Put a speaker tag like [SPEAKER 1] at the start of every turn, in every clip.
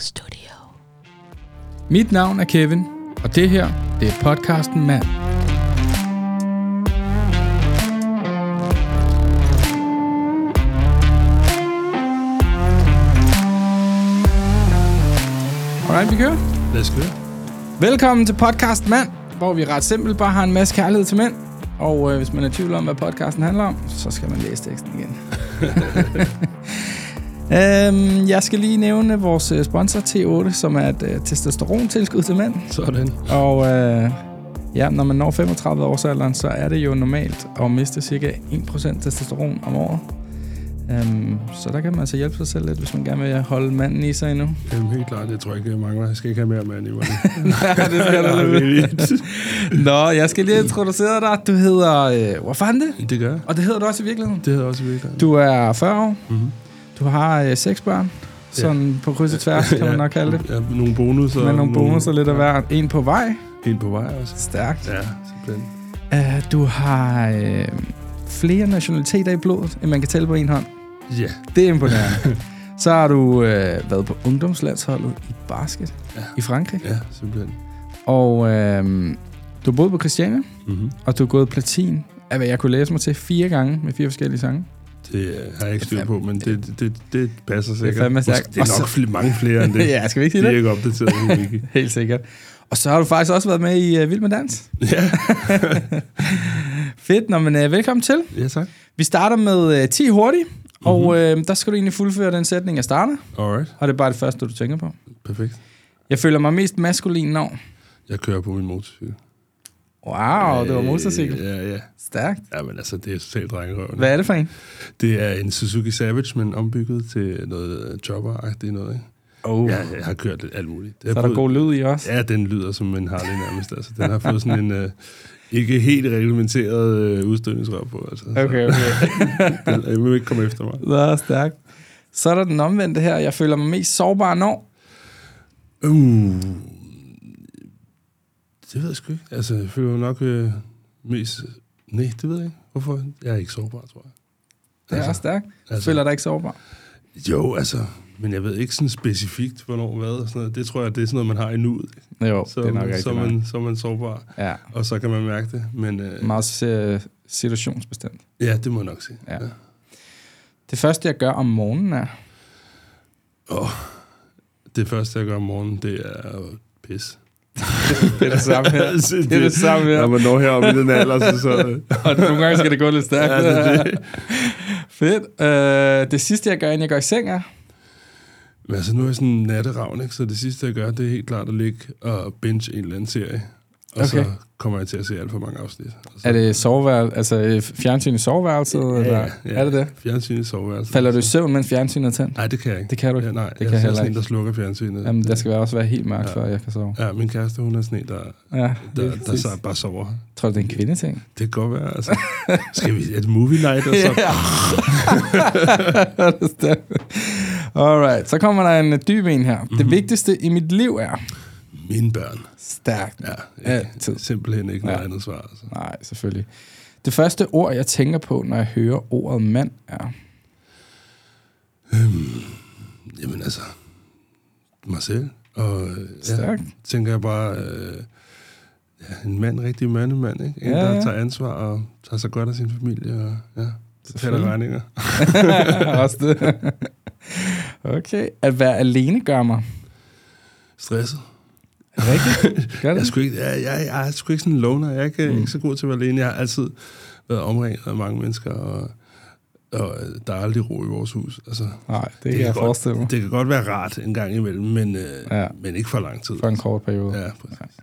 [SPEAKER 1] Studio.
[SPEAKER 2] Mit navn er Kevin, og det her, det er podcasten Mand. Alright, vi kører.
[SPEAKER 3] Lad os køre.
[SPEAKER 2] Velkommen til podcast Mand, hvor vi ret simpelt bare har en masse kærlighed til mænd. Og øh, hvis man er i tvivl om, hvad podcasten handler om, så skal man læse teksten igen. øhm, jeg skal lige nævne vores øh, sponsor T8, som er et øh, testosterontilskud til mænd.
[SPEAKER 3] Sådan.
[SPEAKER 2] Og øh, ja, når man når 35 års alderen, så er det jo normalt at miste cirka 1% testosteron om året. Øhm, så der kan man altså hjælpe sig selv lidt, hvis man gerne vil holde manden i sig endnu.
[SPEAKER 3] Jamen, helt klart, jeg tror ikke, det mangler. Jeg skal ikke have mere mand i mig.
[SPEAKER 2] Ja, det skal der lidt. Nå, jeg skal lige introducere dig. Du hedder øh, Wafande,
[SPEAKER 3] det gør jeg.
[SPEAKER 2] og det hedder du også i virkeligheden.
[SPEAKER 3] Det hedder også virkelig.
[SPEAKER 2] Du er 40 år.
[SPEAKER 3] Mhm.
[SPEAKER 2] Du har øh, seks børn, sådan på kryds og tværs, kan man nok kalde det.
[SPEAKER 3] Ja, nogle bonusser.
[SPEAKER 2] Med nogle bonusser lidt af hver. En på vej.
[SPEAKER 3] En på vej også.
[SPEAKER 2] Stærkt.
[SPEAKER 3] Ja, simpelthen.
[SPEAKER 2] Uh, du har øh, flere nationaliteter i blodet, end man kan tælle på en hånd.
[SPEAKER 3] Ja,
[SPEAKER 2] Det er imponerende. Så har du øh, været på ungdomslandsholdet i basket
[SPEAKER 3] Ja.
[SPEAKER 2] i Frankrig.
[SPEAKER 3] ja, simpelthen.
[SPEAKER 2] Og øh, du har boet på Christiania,
[SPEAKER 3] Mm-hmm.
[SPEAKER 2] og du har gået platin af, hvad jeg kunne læse mig til, fire gange med fire forskellige sange.
[SPEAKER 3] Det øh, har jeg ikke styr
[SPEAKER 2] fandme-
[SPEAKER 3] på, men det, det, det passer sikkert.
[SPEAKER 2] fandme
[SPEAKER 3] Måske-
[SPEAKER 2] stærkt.
[SPEAKER 3] Det er
[SPEAKER 2] Og
[SPEAKER 3] nok fl- mange flere end det.
[SPEAKER 2] ja, skal vi ikke
[SPEAKER 3] Det
[SPEAKER 2] sige
[SPEAKER 3] er
[SPEAKER 2] det?
[SPEAKER 3] ikke opdateret nu, Vicky.
[SPEAKER 2] Helt sikkert. Og så har du faktisk også været med i øh, Vild med Dans.
[SPEAKER 3] Ja.
[SPEAKER 2] Fedt, Nå, men øh, velkommen til.
[SPEAKER 3] ja, tak.
[SPEAKER 2] Vi starter med øh, 10 hurtigt,
[SPEAKER 3] Mhm.
[SPEAKER 2] og øh, der skal du egentlig fuldføre den sætning, jeg starter.
[SPEAKER 3] Alright,
[SPEAKER 2] Og det er bare det første, du tænker på.
[SPEAKER 3] perfekt.
[SPEAKER 2] Jeg føler mig mest maskulin når...
[SPEAKER 3] Jeg kører på min motorcykel.
[SPEAKER 2] Wow, det var
[SPEAKER 3] Øh,
[SPEAKER 2] motorcykel.
[SPEAKER 3] Ja, ja.
[SPEAKER 2] Stærkt.
[SPEAKER 3] Ja, men altså, det er totalt drengerøven.
[SPEAKER 2] Hvad er det for en?
[SPEAKER 3] Det er en Suzuki Savage, men ombygget til noget chopper-agtigt noget, ikke?
[SPEAKER 2] Oh.
[SPEAKER 3] Ja, jeg har kørt lidt alt muligt. Det
[SPEAKER 2] Så er der god lyd i også.
[SPEAKER 3] Ja, den lyder som en Harley nærmest. Altså, den har fået sådan en øh, ikke helt reglementeret øh, udstødningsrør på. Altså.
[SPEAKER 2] Okay, okay.
[SPEAKER 3] Så, den, jeg vil ikke komme efter mig.
[SPEAKER 2] Det er stærkt. Så er der den omvendte her. Jeg føler mig mest sårbar når...
[SPEAKER 3] Uh, det ved jeg sgu ikke. Altså, jeg føler mig nok øh, mest... Nej, det ved jeg ikke. Hvorfor? Jeg er ikke sårbar, tror jeg.
[SPEAKER 2] Det er også stærkt.
[SPEAKER 3] altså,
[SPEAKER 2] Føler dig ikke sårbar.
[SPEAKER 3] Jo, altså... Men jeg ved ikke sådan specifikt, hvornår hvad og sådan noget. Det tror jeg, det er sådan noget, man har i nuet.
[SPEAKER 2] Jo,
[SPEAKER 3] Så,
[SPEAKER 2] det er nok
[SPEAKER 3] så,
[SPEAKER 2] rigtigt.
[SPEAKER 3] er
[SPEAKER 2] nok.
[SPEAKER 3] man, så er man sårbar,
[SPEAKER 2] Ja,
[SPEAKER 3] og så kan man mærke det. Men øh,
[SPEAKER 2] meget øh, situationsbestemt.
[SPEAKER 3] ja, det må jeg nok sige.
[SPEAKER 2] Ja. Det første, jeg gør om morgenen er...
[SPEAKER 3] Det første, jeg gør om morgenen, det er pis.
[SPEAKER 2] Det er det samme her.
[SPEAKER 3] Altså,
[SPEAKER 2] Det er det samme her.
[SPEAKER 3] Når man når heroppe i den alder, så... så
[SPEAKER 2] Og nogle gange skal det gå lidt stærkt.
[SPEAKER 3] ja, det, er det.
[SPEAKER 2] Fedt. Øh, det sidste, jeg gør, inden jeg går i seng, er...
[SPEAKER 3] Men altså, nu er jeg sådan en natteravn, ikke? Så det sidste, jeg gør, det er helt klart at ligge og binge en eller anden serie. Og okay. så
[SPEAKER 2] Okay.
[SPEAKER 3] kommer jeg til at se alt for mange afsnit. Og så
[SPEAKER 2] Er det soveværelse, altså øh, fjernsyn i soveværelset? Ja, eller?
[SPEAKER 3] ja.
[SPEAKER 2] Er det det?
[SPEAKER 3] Fjernsyn i soveværelset. Altså.
[SPEAKER 2] Falder du i søvn, mens fjernsynet er tændt?
[SPEAKER 3] Nej, det kan jeg ikke.
[SPEAKER 2] Det kan du ikke.
[SPEAKER 3] Ja, nej,
[SPEAKER 2] Det
[SPEAKER 3] det jeg
[SPEAKER 2] kan
[SPEAKER 3] kan
[SPEAKER 2] jeg heller
[SPEAKER 3] er sådan en,
[SPEAKER 2] ikke.
[SPEAKER 3] der slukker fjernsynet.
[SPEAKER 2] Jamen, der skal være også være helt mørkt,
[SPEAKER 3] Ja.
[SPEAKER 2] før jeg kan sove.
[SPEAKER 3] Ja, min kæreste, hun er sådan en, der,
[SPEAKER 2] Ja,
[SPEAKER 3] der,
[SPEAKER 2] lige
[SPEAKER 3] der,
[SPEAKER 2] præcis.
[SPEAKER 3] så bare sover.
[SPEAKER 2] Tror du, det er en kvindeting?
[SPEAKER 3] Det kan godt være, altså. Skal vi et movie night, og så...
[SPEAKER 2] Ja. Det er stærkt. Alright, så kommer der en øh, dyb en her.
[SPEAKER 3] Mhm.
[SPEAKER 2] Det vigtigste i mit liv er...
[SPEAKER 3] Mine børn.
[SPEAKER 2] Stærkt.
[SPEAKER 3] Ja, ikke,
[SPEAKER 2] Altid.
[SPEAKER 3] simpelthen ikke noget
[SPEAKER 2] Ja.
[SPEAKER 3] andet svar. Altså.
[SPEAKER 2] Nej, selvfølgelig. Det første ord, jeg tænker på, når jeg hører ordet mand, er...
[SPEAKER 3] Øhm, Jamen altså, mig selv. Og øh, ja,
[SPEAKER 2] Stærkt.
[SPEAKER 3] tænker jeg bare, øh, ja, en mand, rigtig mandemand, ikke? En,
[SPEAKER 2] Ja,
[SPEAKER 3] ja, der
[SPEAKER 2] ja.
[SPEAKER 3] tager ansvar og tager sig godt af sin familie og ja, betaler
[SPEAKER 2] Selvfølgelig.
[SPEAKER 3] regninger.
[SPEAKER 2] også det. Okay. At være alene gør mig.
[SPEAKER 3] Stresset.
[SPEAKER 2] Er det rigtigt? Gør
[SPEAKER 3] Jeg er,
[SPEAKER 2] det?
[SPEAKER 3] sgu ikke, jeg, jeg, jeg er sgu ikke sådan en loner. Jeg er ikke, mm. ikke så god til at være alene. Jeg har altid været omringet af mange mennesker, og, og øh, der er aldrig ro i vores hus. Altså,
[SPEAKER 2] Nej, det kan jeg
[SPEAKER 3] godt,
[SPEAKER 2] forestille mig.
[SPEAKER 3] Det kan godt være rart en gang imellem, men, øh,
[SPEAKER 2] Ja.
[SPEAKER 3] ja. men ikke for lang tid.
[SPEAKER 2] For en kort periode.
[SPEAKER 3] Ja, præcis.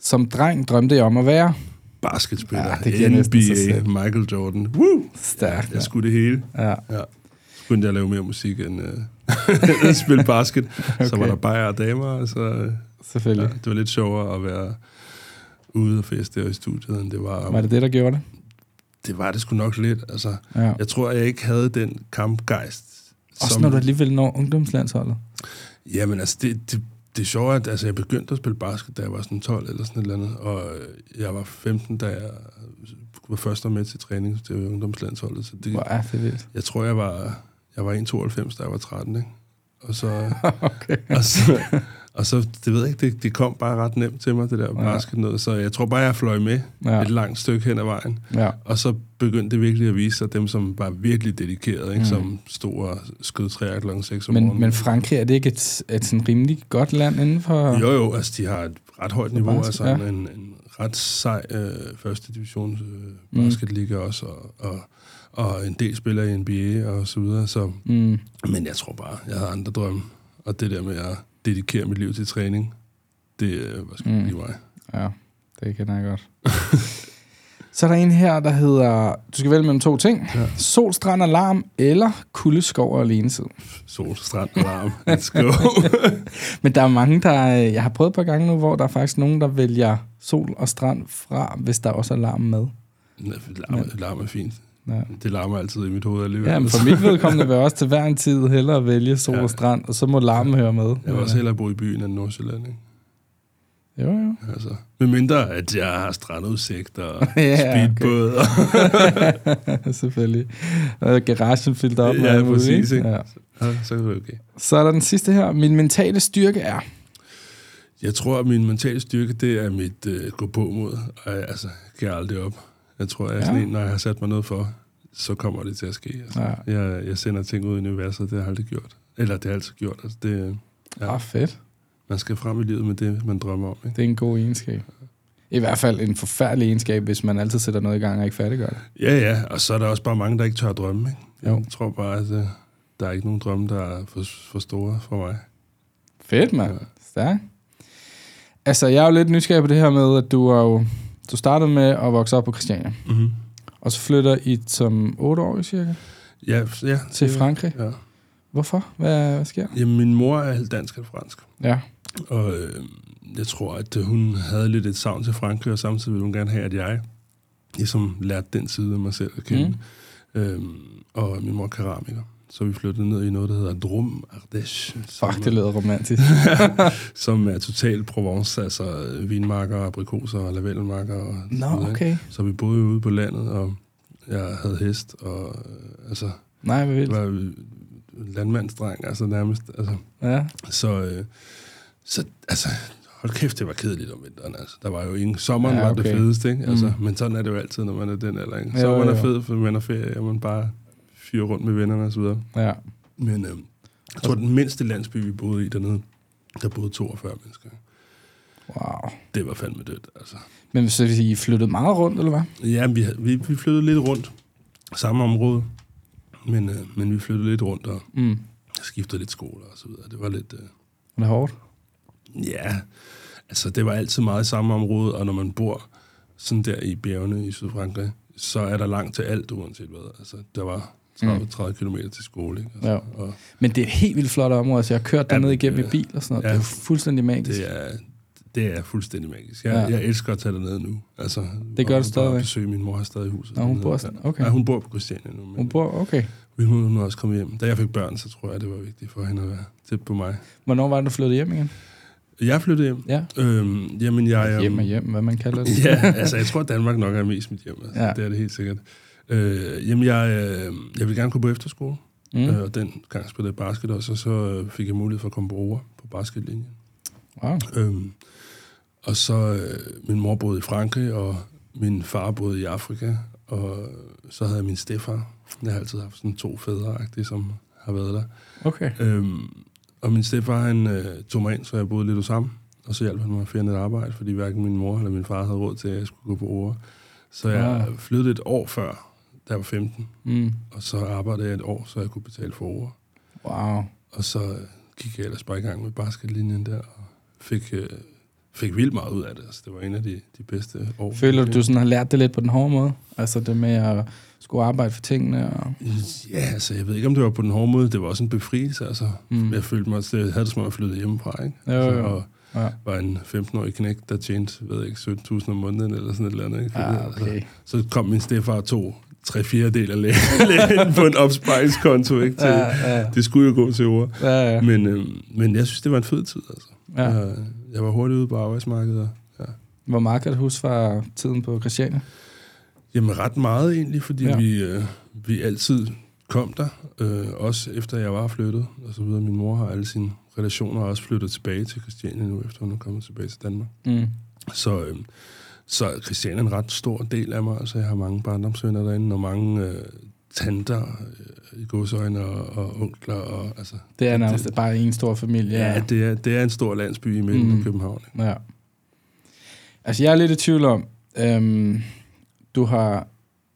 [SPEAKER 2] Som dreng drømte jeg om at være.
[SPEAKER 3] basketspiller,
[SPEAKER 2] Ja,
[SPEAKER 3] ja,
[SPEAKER 2] det giver næsten sig selv.
[SPEAKER 3] NBA, Michael Jordan. Woo!
[SPEAKER 2] Stærkt.
[SPEAKER 3] Jeg skulle det hele.
[SPEAKER 2] Ja.
[SPEAKER 3] Ja. Så begyndte jeg at lave mere musik end øh, at spille basket. okay. Så var der bare og damer, og så øh, ja,
[SPEAKER 2] Selvfølgelig.
[SPEAKER 3] det var lidt sjovere at være ude og feste og i studiet, end det var.
[SPEAKER 2] Var det det, der gjorde det?
[SPEAKER 3] Det var det sgu nok lidt. Altså,
[SPEAKER 2] Ja.
[SPEAKER 3] jeg tror, jeg ikke havde den kampgejst.
[SPEAKER 2] Også når du alligevel når ungdomslandsholdet.
[SPEAKER 3] Jamen altså, det, det, det sjove er, at altså, jeg begyndte at spille basket, da jeg var sådan 12 eller sådan et eller andet, og øh, jeg var 15, da jeg var først med til træning til ungdomslandsholdet, så det,
[SPEAKER 2] Hvor er det vildt.
[SPEAKER 3] Jeg tror, jeg var, jeg var 1,92, da jeg var 13, ikke? og så,
[SPEAKER 2] okay.
[SPEAKER 3] og så, og så det ved jeg ikke, det, det kom bare ret nemt til mig, det der basket noget, så jeg tror bare, jeg fløj med
[SPEAKER 2] Ja.
[SPEAKER 3] et langt stykke hen ad vejen.
[SPEAKER 2] ja.
[SPEAKER 3] Og så begyndte det virkelig at vise sig, dem som var virkelig dedikerede, ikke? Mm. som stod og skød træer klokken 6 om
[SPEAKER 2] Men,
[SPEAKER 3] morgenen.
[SPEAKER 2] men Frankrig, er det ikke et, et sådan rimelig godt land inden for...
[SPEAKER 3] Jo, jo, altså de har et ret højt niveau,
[SPEAKER 2] basket,
[SPEAKER 3] altså
[SPEAKER 2] ja.
[SPEAKER 3] ja. en, en ret sej øh, første division
[SPEAKER 2] Mm.
[SPEAKER 3] øh, basketliga også, og, og, og en del spiller i NBA og så videre. Så,
[SPEAKER 2] Mm.
[SPEAKER 3] men jeg tror bare, jeg havde andre drømme, og det der med at dedikere mit liv til træning, det øh, var sgu
[SPEAKER 2] Mm.
[SPEAKER 3] mm. lige mig.
[SPEAKER 2] Ja, det kender jeg godt. Så er der en her, der hedder... Du skal vælge mellem to ting. Ja. Solstrand alarm eller kuldeskov og alenetid.
[SPEAKER 3] Sol, strand, alarm, let's go.
[SPEAKER 2] Men der er mange, der... øh, Jeg har prøvet et par gange nu, hvor der er faktisk nogen, der vælger sol og strand fra, hvis der også er larm med.
[SPEAKER 3] Nå, larm, larm er fint.
[SPEAKER 2] Ja.
[SPEAKER 3] Det larmer altid i mit hoved alligevel.
[SPEAKER 2] Ja, men for mit vedkommende vil jeg også til hver en tid hellere vælge sol
[SPEAKER 3] Ja.
[SPEAKER 2] og strand, og så må larmen høre med.
[SPEAKER 3] Jeg vil også hellere bo i byen end Nordsjælland, ikke?
[SPEAKER 2] Jo, øh, jo.
[SPEAKER 3] Altså, med mindre, at jeg har strandudsigt og
[SPEAKER 2] Ja,
[SPEAKER 3] ja,
[SPEAKER 2] okay.
[SPEAKER 3] speedbåd. Og,
[SPEAKER 2] Selvfølgelig. Og garagen fyldt op. med
[SPEAKER 3] Ja,
[SPEAKER 2] alt muligt,
[SPEAKER 3] præcis, ikke?
[SPEAKER 2] Ja.
[SPEAKER 3] ja, så er det okay.
[SPEAKER 2] Så er der den sidste her. Min mentale styrke er...
[SPEAKER 3] Jeg tror, at min mentale styrke, det er mit øh, gå på mod. Og, jeg- altså, kan jeg aldrig op. Jeg tror, jeg er sådan
[SPEAKER 2] Ja.
[SPEAKER 3] en, når jeg har sat mig noget for, så kommer det til at ske. Altså.
[SPEAKER 2] Ja.
[SPEAKER 3] Jeg, jeg sender ting ud i universet, det har jeg aldrig gjort. Eller det har jeg altid gjort. Altså, det, øh,
[SPEAKER 2] Ja.
[SPEAKER 3] Ja.
[SPEAKER 2] Ah, fedt.
[SPEAKER 3] man skal frem i livet med det, man drømmer om. Ikke?
[SPEAKER 2] Det er en god egenskab. I hvert fald en forfærdelig egenskab, hvis man altid sætter noget i gang og ikke færdiggør det.
[SPEAKER 3] Ja, ja, og så er der også bare mange, der ikke tør at drømme. Ikke? Jeg
[SPEAKER 2] Jo.
[SPEAKER 3] tror bare, at øh, der er ikke nogen drømme, der er for, for store for mig.
[SPEAKER 2] Fedt, mand. Ja. Stærk. Altså, jeg er jo lidt nysgerrig på det her med, at du er jo... Du startede med at vokse op på Christiania,
[SPEAKER 3] Mm-hmm.
[SPEAKER 2] og så flytter I som 8 år cirka
[SPEAKER 3] Ja, f- ja.
[SPEAKER 2] til
[SPEAKER 3] det-
[SPEAKER 2] Frankrig.
[SPEAKER 3] Ja.
[SPEAKER 2] Hvorfor? Hvad, hvad sker der?
[SPEAKER 3] Jamen, min mor er halvt dansk og fransk.
[SPEAKER 2] Ja.
[SPEAKER 3] Og øh, jeg tror, at øh, hun havde lidt et savn til Frankrig, og samtidig ville hun gerne have, at jeg ligesom lærte den side af mig selv at kende. Mm. Øhm, og min mor er keramiker. Så vi flyttede ned i noget, der hedder Drum Ardèche. som
[SPEAKER 2] Fuck,
[SPEAKER 3] er-
[SPEAKER 2] det lyder romantisk.
[SPEAKER 3] Som er totalt Provence, altså øh, vinmarker, aprikoser og lavendelmarker. Og så
[SPEAKER 2] Nå,
[SPEAKER 3] videre, ikke?
[SPEAKER 2] okay.
[SPEAKER 3] Så vi boede jo ude på landet, og jeg havde hest, og øh, altså,
[SPEAKER 2] Nej, hvad
[SPEAKER 3] jeg
[SPEAKER 2] vildt.
[SPEAKER 3] var øh, landmandsdreng, altså nærmest. Altså,
[SPEAKER 2] Ja.
[SPEAKER 3] så, øh, så altså, hold kæft, det var kedeligt om vinteren. Altså. Der var jo ingen... Sommeren
[SPEAKER 2] Ja,
[SPEAKER 3] ja, okay. var
[SPEAKER 2] okay.
[SPEAKER 3] det fedeste, ikke? Altså,
[SPEAKER 2] Mm.
[SPEAKER 3] mm. Men sådan er det jo altid, når man er den alder. Ikke?
[SPEAKER 2] Jo,
[SPEAKER 3] Sommeren
[SPEAKER 2] jo.
[SPEAKER 3] er fed, for man er ferie, og man bare fyrer rundt med vennerne osv.
[SPEAKER 2] ja.
[SPEAKER 3] Men øh, jeg tror, den mindste landsby, vi boede i dernede, der boede 42 mennesker.
[SPEAKER 2] Wow.
[SPEAKER 3] Det var fandme dødt, altså.
[SPEAKER 2] Men så vil sige, I flyttede meget rundt, eller hvad?
[SPEAKER 3] Ja, vi, havde- vi, vi flyttede lidt rundt. Samme område. Men, øh, men vi flyttede lidt rundt og
[SPEAKER 2] Mm.
[SPEAKER 3] skiftede lidt skoler og så videre. Det var lidt... Øh,
[SPEAKER 2] Var det hårdt?
[SPEAKER 3] Ja, altså det var altid meget i samme område, og når man bor sådan der i bjergene i Sydfrankrig, så er der langt til alt, uanset hvad. Altså, der var 30,
[SPEAKER 2] Mm.
[SPEAKER 3] 30 km til skole, ikke? Altså,
[SPEAKER 2] Ja.
[SPEAKER 3] Og
[SPEAKER 2] Men det er et helt vildt flot område, så jeg har kørt
[SPEAKER 3] Ja,
[SPEAKER 2] derned
[SPEAKER 3] men,
[SPEAKER 2] igennem i
[SPEAKER 3] øh,
[SPEAKER 2] bil og sådan noget. Ja,
[SPEAKER 3] ja,
[SPEAKER 2] det er jo fuldstændig magisk.
[SPEAKER 3] det er, det er fuldstændig magisk. Jeg,
[SPEAKER 2] Ja.
[SPEAKER 3] ja. jeg elsker at tage derned nu. Altså,
[SPEAKER 2] Det gør
[SPEAKER 3] og
[SPEAKER 2] du stadigvæk?
[SPEAKER 3] Bare besøge min mor har stadig i huset.
[SPEAKER 2] Nå, hun
[SPEAKER 3] dernede.
[SPEAKER 2] bor sådan-
[SPEAKER 3] Ja.
[SPEAKER 2] okay.
[SPEAKER 3] Ja, hun bor på Christiania nu. Men
[SPEAKER 2] Hun bor, okay.
[SPEAKER 3] Hun, hun er også kommet hjem. Da jeg fik børn, så tror jeg, det var vigtigt for hende at være tæt på mig.
[SPEAKER 2] Hvornår var det, du flyttede hjem igen?
[SPEAKER 3] Jeg flyttede hjem.
[SPEAKER 2] Ja.
[SPEAKER 3] Øhm, jamen, jeg... øhm,
[SPEAKER 2] Hjem og hjem, hvad man kalder det.
[SPEAKER 3] Ja, altså jeg tror, at Danmark nok er mest mit hjem. Altså,
[SPEAKER 2] Ja.
[SPEAKER 3] ja. Det er det helt sikkert. Øh, jamen, jeg, øh, jeg ville gerne gå på efterskole, mm. øh,
[SPEAKER 2] Mm.
[SPEAKER 3] og den gang spillede jeg basket også, og så øh, fik jeg mulighed for at komme på Roer på basketlinjen.
[SPEAKER 2] Wow.
[SPEAKER 3] Øh, og så øh, min mor boede i Frankrig, og min far boede i Afrika, og så havde jeg min stefar. Jeg har altid haft sådan to fædre som har været der.
[SPEAKER 2] Okay.
[SPEAKER 3] Øhm, og min stefar, han øh, tog mig ind, så jeg boede lidt hos ham. Og så hjalp han mig at finde et arbejde, fordi hverken min mor eller min far havde råd til, at jeg skulle gå på ord. Så jeg
[SPEAKER 2] Ah.
[SPEAKER 3] flyttede et år før, da jeg var 15.
[SPEAKER 2] Mm.
[SPEAKER 3] Og så arbejdede jeg et år, så jeg kunne betale for ord.
[SPEAKER 2] Wow.
[SPEAKER 3] Og så øh, gik jeg ellers bare i gang med basketlinjen der, og fik, øh, fik vildt meget ud af det. Altså, det var en af de, de bedste år.
[SPEAKER 2] Føler du, du sådan har lært det lidt på den hårde måde? Altså det med at skulle arbejde for tingene? Og...
[SPEAKER 3] Ja, altså, jeg ved ikke, om det var på den hårde måde. Det var også en befrielse, altså.
[SPEAKER 2] Mm.
[SPEAKER 3] Jeg følte mig, jeg havde det som om, jeg flyttede hjemmefra, ikke? Altså,
[SPEAKER 2] Jo, jo.
[SPEAKER 3] og
[SPEAKER 2] Ja.
[SPEAKER 3] var en 15-årig knæk, der tjente, ved jeg ikke, 17.000 om måneden eller sådan et eller andet. Ikke? Fordi,
[SPEAKER 2] Ah, okay.
[SPEAKER 3] så kom min stefar og tog tre fjerdedel af læ- lægen på en opsparingskonto. Ikke? Til,
[SPEAKER 2] Ja, ja,
[SPEAKER 3] Det skulle jo gå til ord.
[SPEAKER 2] ja, Ah. ja.
[SPEAKER 3] Men, øh, men jeg synes, det var en fed tid. Altså.
[SPEAKER 2] ja.
[SPEAKER 3] Jeg, jeg var hurtigt ude på arbejdsmarkedet. Og, ja.
[SPEAKER 2] Hvor meget kan du huske fra tiden på Christiania?
[SPEAKER 3] Jamen ret meget egentlig, fordi
[SPEAKER 2] Ja.
[SPEAKER 3] ja. vi, øh, vi altid kom der. Øh, også efter jeg var flyttet, og så videre. Min mor har alle sine relationer og er også flyttet tilbage til Christiania nu, efter hun er kommet tilbage til Danmark.
[SPEAKER 2] Mm.
[SPEAKER 3] Så, øh, så Christiania er en ret stor del af mig, altså jeg har mange barndomsvenner derinde, og mange øh, tanter øh, i godsøjne og, og onkler. Og, altså,
[SPEAKER 2] Det er nærmest det, bare en stor familie.
[SPEAKER 3] ja, ja
[SPEAKER 2] det...
[SPEAKER 3] det, er, det er en stor landsby i midten mm.
[SPEAKER 2] Mm.
[SPEAKER 3] af København. Ikke?
[SPEAKER 2] ja. Altså, jeg er lidt i tvivl om, øhm, du har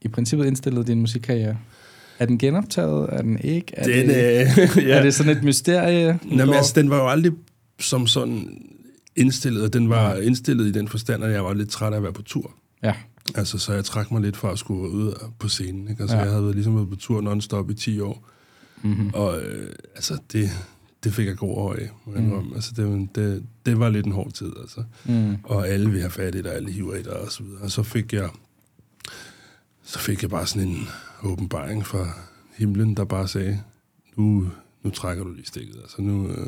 [SPEAKER 2] i princippet indstillet din musikkarriere. Er den genoptaget? Er den ikke? Er,
[SPEAKER 3] Den,
[SPEAKER 2] det,
[SPEAKER 3] øh, ja.
[SPEAKER 2] er det sådan et mysterie?
[SPEAKER 3] Nå, men
[SPEAKER 2] Hvor-
[SPEAKER 3] altså, den var jo aldrig som sådan indstillet, og den var indstillet i den forstand, at jeg var lidt træt af at være på tur.
[SPEAKER 2] Ja.
[SPEAKER 3] Altså, så jeg trak mig lidt fra at skulle ud på scenen. Ikke? Altså,
[SPEAKER 2] Ja.
[SPEAKER 3] ja. jeg havde været- ligesom været på tur non-stop i 10 år,
[SPEAKER 2] Mm-hmm.
[SPEAKER 3] og øh, altså, det, det fik jeg god øje af. Mm. Altså, det, var en- det, det, var lidt en hård tid, altså.
[SPEAKER 2] Mm.
[SPEAKER 3] Og alle vil have fat i dig, alle hiver i dig, og så videre. Og så fik jeg, så fik jeg bare sådan en åbenbaring fra himlen, der bare sagde, nu, nu trækker du lige stikket, altså nu, øh,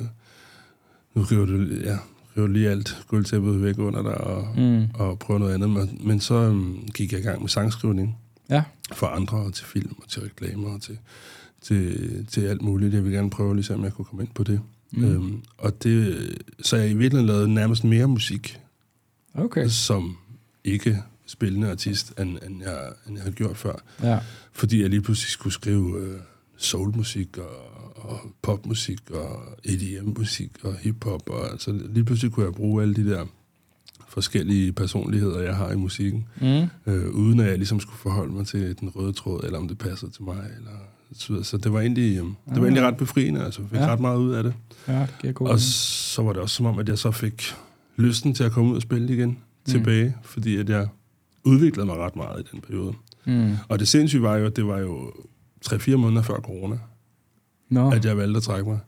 [SPEAKER 3] nu river du, ja, river du lige alt gulvtæppet væk under dig, og,
[SPEAKER 2] Mm.
[SPEAKER 3] og prøver noget andet. Men, men så øhm, gik jeg i gang med sangskrivning
[SPEAKER 2] Ja.
[SPEAKER 3] for andre, og til film, og til reklamer, og til, til, til alt muligt. Jeg vil gerne prøve, ligesom jeg kunne komme ind på det. Mm.
[SPEAKER 2] Mm.
[SPEAKER 3] Øhm, og det, så jeg i virkeligheden lavede nærmest mere musik,
[SPEAKER 2] Okay.
[SPEAKER 3] som ikke spillende artist, end, end, jeg, end jeg havde gjort før.
[SPEAKER 2] Ja.
[SPEAKER 3] Fordi jeg lige pludselig skulle skrive øh, soulmusik og, og popmusik og EDM-musik og hiphop. Og, altså, lige pludselig kunne jeg bruge alle de der forskellige personligheder, jeg har i musikken,
[SPEAKER 2] Mm.
[SPEAKER 3] øh, uden at jeg ligesom skulle forholde mig til den røde tråd, eller om det passede til mig. Eller, så videre. så det var egentlig, øh, det var egentlig ret befriende, altså jeg fik
[SPEAKER 2] Mm. Ja.
[SPEAKER 3] ja. ret meget ud af det.
[SPEAKER 2] Ja, det giver god
[SPEAKER 3] Og
[SPEAKER 2] mening.
[SPEAKER 3] så var det også som om, at jeg så fik lysten til at komme ud og spille igen tilbage, fordi at jeg udviklede mig ret meget i den periode.
[SPEAKER 2] Mm.
[SPEAKER 3] Og det sindssyge var jo, at det var jo 3-4 måneder før corona,
[SPEAKER 2] Nå,
[SPEAKER 3] oh. at jeg valgte at trække mig.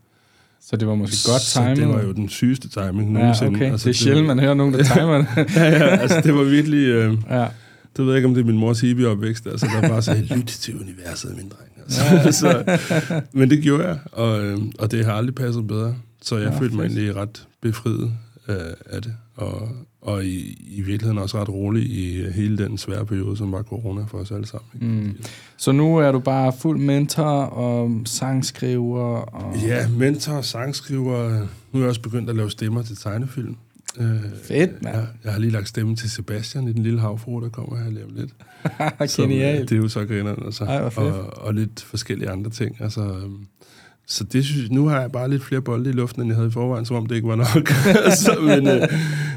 [SPEAKER 2] så det var måske godt timet.
[SPEAKER 3] Så det var jo den sygeste timing
[SPEAKER 2] ja,
[SPEAKER 3] nogensinde.
[SPEAKER 2] okay. Altså, det er sjældent,
[SPEAKER 3] var,
[SPEAKER 2] man hører nogen, der timer det.
[SPEAKER 3] ja, ja, altså det var virkelig... Øh,
[SPEAKER 2] ja.
[SPEAKER 3] det ved jeg ikke, om det er min mors hippie-opvækst, altså der bare sagde, lyt til universet, min dreng. Altså, ja. så, men det gjorde jeg, og, øh, og det har aldrig passet bedre. Så jeg
[SPEAKER 2] Ja,
[SPEAKER 3] ja, følte mig
[SPEAKER 2] fedt.
[SPEAKER 3] egentlig ret befriet øh, af det, og, og i, i virkeligheden også ret rolig i øh, hele den svære periode, som var corona for os alle sammen. Ikke?
[SPEAKER 2] Mm. Så nu er du bare fuld mentor og sangskriver. Og...
[SPEAKER 3] Ja, mentor, sangskriver. Nu er jeg også begyndt at lave stemmer til tegnefilm. Øh,
[SPEAKER 2] Fedt, mand.
[SPEAKER 3] jeg, jeg har lige lagt stemme til Sebastian i Den Lille Havfru, der kommer her lige om lidt. Som, øh,
[SPEAKER 2] Genialt.
[SPEAKER 3] Det er jo så grinerne, altså.
[SPEAKER 2] Ej, hvor fedt.
[SPEAKER 3] og, og lidt forskellige andre ting. Altså, øhm, så det synes, nu har jeg bare lidt flere bolde i luften, end jeg havde i forvejen, som om det ikke var nok. så, men, øh,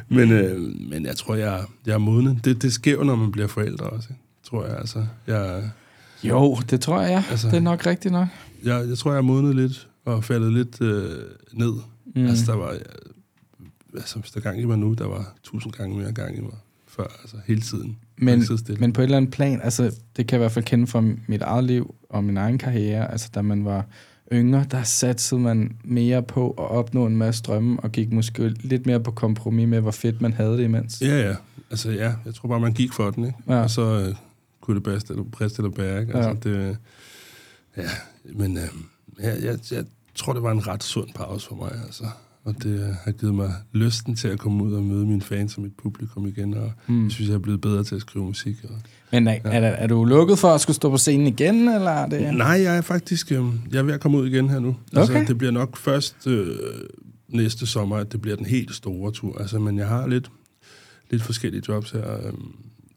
[SPEAKER 3] men, øh, men jeg tror, jeg, jeg er moden. Det, det sker jo, når man bliver forældre også, ikke? tror jeg. Altså, jeg,
[SPEAKER 2] Jo, det tror jeg. Altså...
[SPEAKER 3] Altså-
[SPEAKER 2] Det er nok rigtigt nok.
[SPEAKER 3] jeg, jeg tror, jeg er modnet lidt og faldet lidt øh, ned.
[SPEAKER 2] Mm.
[SPEAKER 3] Mm. Altså, der var... øh, Altså, hvis der er gang i mig nu, der var tusind gange mere gang i mig før, altså hele tiden.
[SPEAKER 2] men,
[SPEAKER 3] Hele tiden stille.
[SPEAKER 2] men på et eller andet plan, altså, det kan jeg i hvert fald kende fra mit eget liv og min egen karriere. Altså, da man var yngre, der satsede man mere på at opnå en masse drømme, og gik måske lidt mere på kompromis med, hvor fedt man havde det imens.
[SPEAKER 3] Ja, ja. Altså, ja. Jeg tror bare, man gik for den, ikke?
[SPEAKER 2] Ja.
[SPEAKER 3] Og så øh, kunne det bedst eller brist eller bære, ikke? Altså,
[SPEAKER 2] Ja.
[SPEAKER 3] ja. Det, ja, men øh, ja, jeg, jeg tror, det var en ret sund pause for mig, altså. Og det øh, har givet mig lysten til at komme ud og møde mine fans og mit publikum igen, og
[SPEAKER 2] Mm.
[SPEAKER 3] jeg synes, jeg er blevet bedre til at skrive musik. Og...
[SPEAKER 2] Men er, er, er du lukket for at skulle stå på scenen igen, eller er det...
[SPEAKER 3] Nej, jeg er faktisk... Øh, jeg er ved at komme ud igen her nu. Altså,
[SPEAKER 2] Okay.
[SPEAKER 3] det bliver nok først øh, næste sommer, at det bliver den helt store tur. Altså, men jeg har lidt, lidt forskellige jobs her, øh,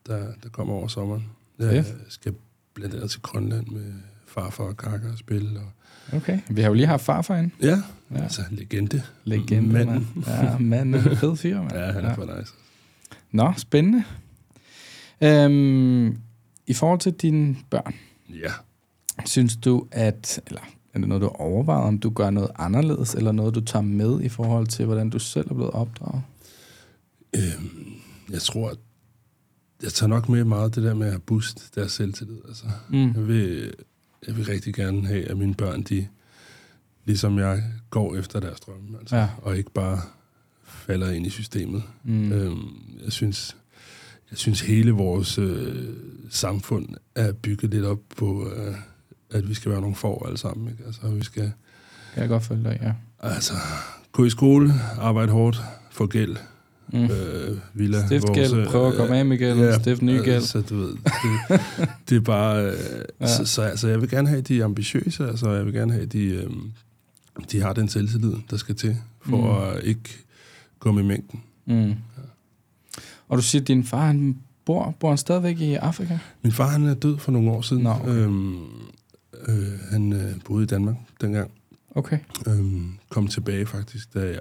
[SPEAKER 3] der, der kommer over sommeren. Jeg
[SPEAKER 2] Fedt.
[SPEAKER 3] skal blandt andet til Grønland med farfar og kakker og spille. Og,
[SPEAKER 2] Okay. Vi har jo lige haft farfar ind.
[SPEAKER 3] ja,
[SPEAKER 2] Ja.
[SPEAKER 3] ja, altså legende.
[SPEAKER 2] Legende,
[SPEAKER 3] Manden.
[SPEAKER 2] mand. Ja, manden. Fed fyr, mand.
[SPEAKER 3] Ja, han er for nice.
[SPEAKER 2] Nå, spændende. Øhm, I forhold til dine børn,
[SPEAKER 3] Ja.
[SPEAKER 2] synes du, at... Eller er det noget, du overvejer, om du gør noget anderledes, eller noget, du tager med i forhold til, hvordan du selv er blevet opdraget?
[SPEAKER 3] Øhm, jeg tror, at jeg tager nok med meget det der med at booste deres selvtillid. Altså.
[SPEAKER 2] Mm.
[SPEAKER 3] Jeg vil, jeg vil rigtig gerne have, at mine børn, de, ligesom jeg, går efter deres drømme, altså,
[SPEAKER 2] Ja.
[SPEAKER 3] og ikke bare falder ind i systemet.
[SPEAKER 2] Mm.
[SPEAKER 3] Mm.
[SPEAKER 2] Øh.
[SPEAKER 3] Øhm, jeg synes, jeg synes hele vores øh, samfund er bygget lidt op på, øh, at vi skal være nogle får alle sammen. Ikke? Altså, vi skal
[SPEAKER 2] Kan jeg godt følge dig, ja.
[SPEAKER 3] altså, gå i skole, arbejde hårdt, få gæld, mm. øh, villa.
[SPEAKER 2] Stift gæld,
[SPEAKER 3] vores, øh,
[SPEAKER 2] prøv at komme af med gælden, stift ny gæld.
[SPEAKER 3] Så du ved, det, det er bare... Øh, ja. så, så altså, jeg vil gerne have, at de er ambitiøse, altså jeg vil gerne have, at de, øh, de har den selvtillid, der skal til, for mm. at ikke gå med mængden.
[SPEAKER 2] Mm. Og du siger, at din far han bor, bor han stadigvæk i Afrika?
[SPEAKER 3] Min far, han er død for nogle år siden.
[SPEAKER 2] Nå, okay.
[SPEAKER 3] øhm, øh, han øh, boede i Danmark dengang.
[SPEAKER 2] Okay.
[SPEAKER 3] Øhm, kom tilbage faktisk, da jeg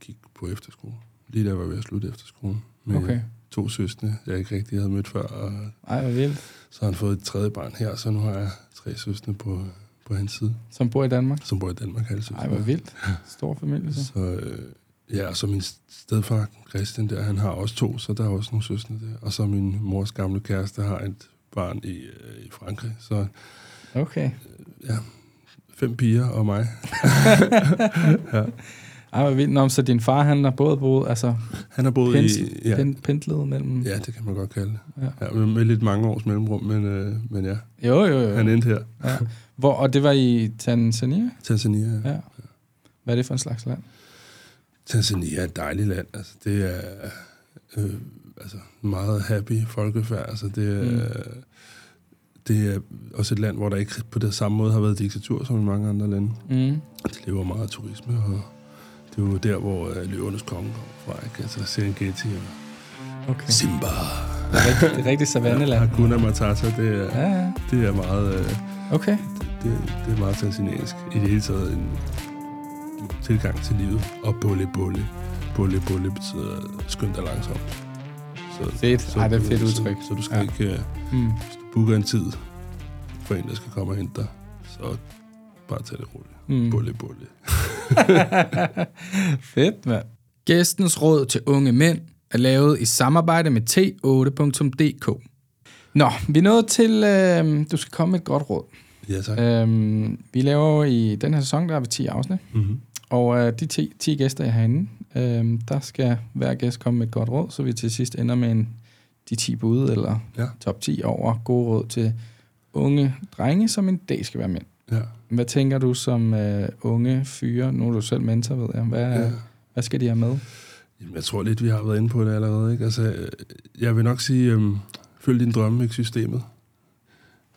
[SPEAKER 3] gik på efterskole. Lige da jeg var ved at slutte efterskolen. Med
[SPEAKER 2] Okay.
[SPEAKER 3] to søstre, jeg ikke rigtig havde mødt før. Og
[SPEAKER 2] Ej, hvor vildt.
[SPEAKER 3] så har han fået et tredje barn her, så nu har jeg tre søstre på, på hans side,
[SPEAKER 2] Som bor i Danmark.
[SPEAKER 3] som bor i Danmark alle søstre.
[SPEAKER 2] Ej, hvor vildt. altså. Stor familie, så.
[SPEAKER 3] Så, øh, ja, og så min stedfar, Christian der, han har også to, så der er også nogle søstre der. Og så min mors gamle kæreste har et barn i, øh, i Frankrig. Så
[SPEAKER 2] Okay.
[SPEAKER 3] fem piger og mig.
[SPEAKER 2] Ej, hvor vildt. Nå, men så din far, han har både boet, altså
[SPEAKER 3] Han har boet
[SPEAKER 2] Pensel.
[SPEAKER 3] i... Ja,
[SPEAKER 2] pen, pendlet mellem...
[SPEAKER 3] ja, det kan man godt kalde det.
[SPEAKER 2] Ja.
[SPEAKER 3] Ja. Ja, med, med lidt mange års mellemrum, men, øh, men ja,
[SPEAKER 2] Jo, jo, jo.
[SPEAKER 3] han endte her.
[SPEAKER 2] Ja. Hvor, og det var i Tanzania?
[SPEAKER 3] Tanzania. Ja.
[SPEAKER 2] Ja. Hvad er det for en slags land?
[SPEAKER 3] Tanzania er et dejligt land. Altså, det er øh, altså, meget happy folkefærd. Altså, det, er, mm. det er også et land, hvor der ikke på den samme måde har været diktatur som i mange andre lande.
[SPEAKER 2] Mm.
[SPEAKER 3] Det lever meget af turisme, og det er jo der, hvor øh, løvernes konge kommer fra. Ikke? Altså Serengeti og
[SPEAKER 2] Okay.
[SPEAKER 3] Simba.
[SPEAKER 2] Det er rigtig, det er rigtig savanneland.
[SPEAKER 3] Hakuna Matata, det er,
[SPEAKER 2] Ja, ja.
[SPEAKER 3] det er meget... Øh,
[SPEAKER 2] Okay.
[SPEAKER 3] det, det er meget tanzaniansk. I det hele taget en tilgang til livet. Og bolle, bolle. Bolle, bolle betyder skynd dig langsomt. Så,
[SPEAKER 2] Fedt. Ej, det er et fedt udtryk.
[SPEAKER 3] Så, så du skal
[SPEAKER 2] Ja.
[SPEAKER 3] ja. ikke uh,
[SPEAKER 2] Mm.
[SPEAKER 3] booke en tid for en, der skal komme og hente dig. Så bare tag det roligt.
[SPEAKER 2] Mm.
[SPEAKER 3] Mm. Bolle, bolle.
[SPEAKER 2] Fedt, mand. Gæstens råd til unge mænd er lavet i samarbejde med t8.dk. Nå, vi er nået til, øh, du skal komme med et godt råd.
[SPEAKER 3] Ja, tak. Ja.
[SPEAKER 2] Øh, vi laver jo i den her sæson, der er vi 10 afsnit,
[SPEAKER 3] Mm-hmm.
[SPEAKER 2] og øh, de 10, 10 gæster, jeg har inde, øh, der skal hver gæst komme med et godt råd, så vi til sidst ender med en, de 10 bud, eller ja.
[SPEAKER 3] Ja.
[SPEAKER 2] top 10 over gode råd til unge drenge, som en dag skal være mænd.
[SPEAKER 3] ja.
[SPEAKER 2] Hvad tænker du som øh, unge fyre? Nu er du selv mentor, ved jeg. Hvad, ja.
[SPEAKER 3] ja.
[SPEAKER 2] hvad skal de have med?
[SPEAKER 3] Jamen, jeg tror lidt, vi har været inde på det allerede. Ikke? Altså, øh, jeg vil nok sige, øhm, følg din drømme, ikke systemet.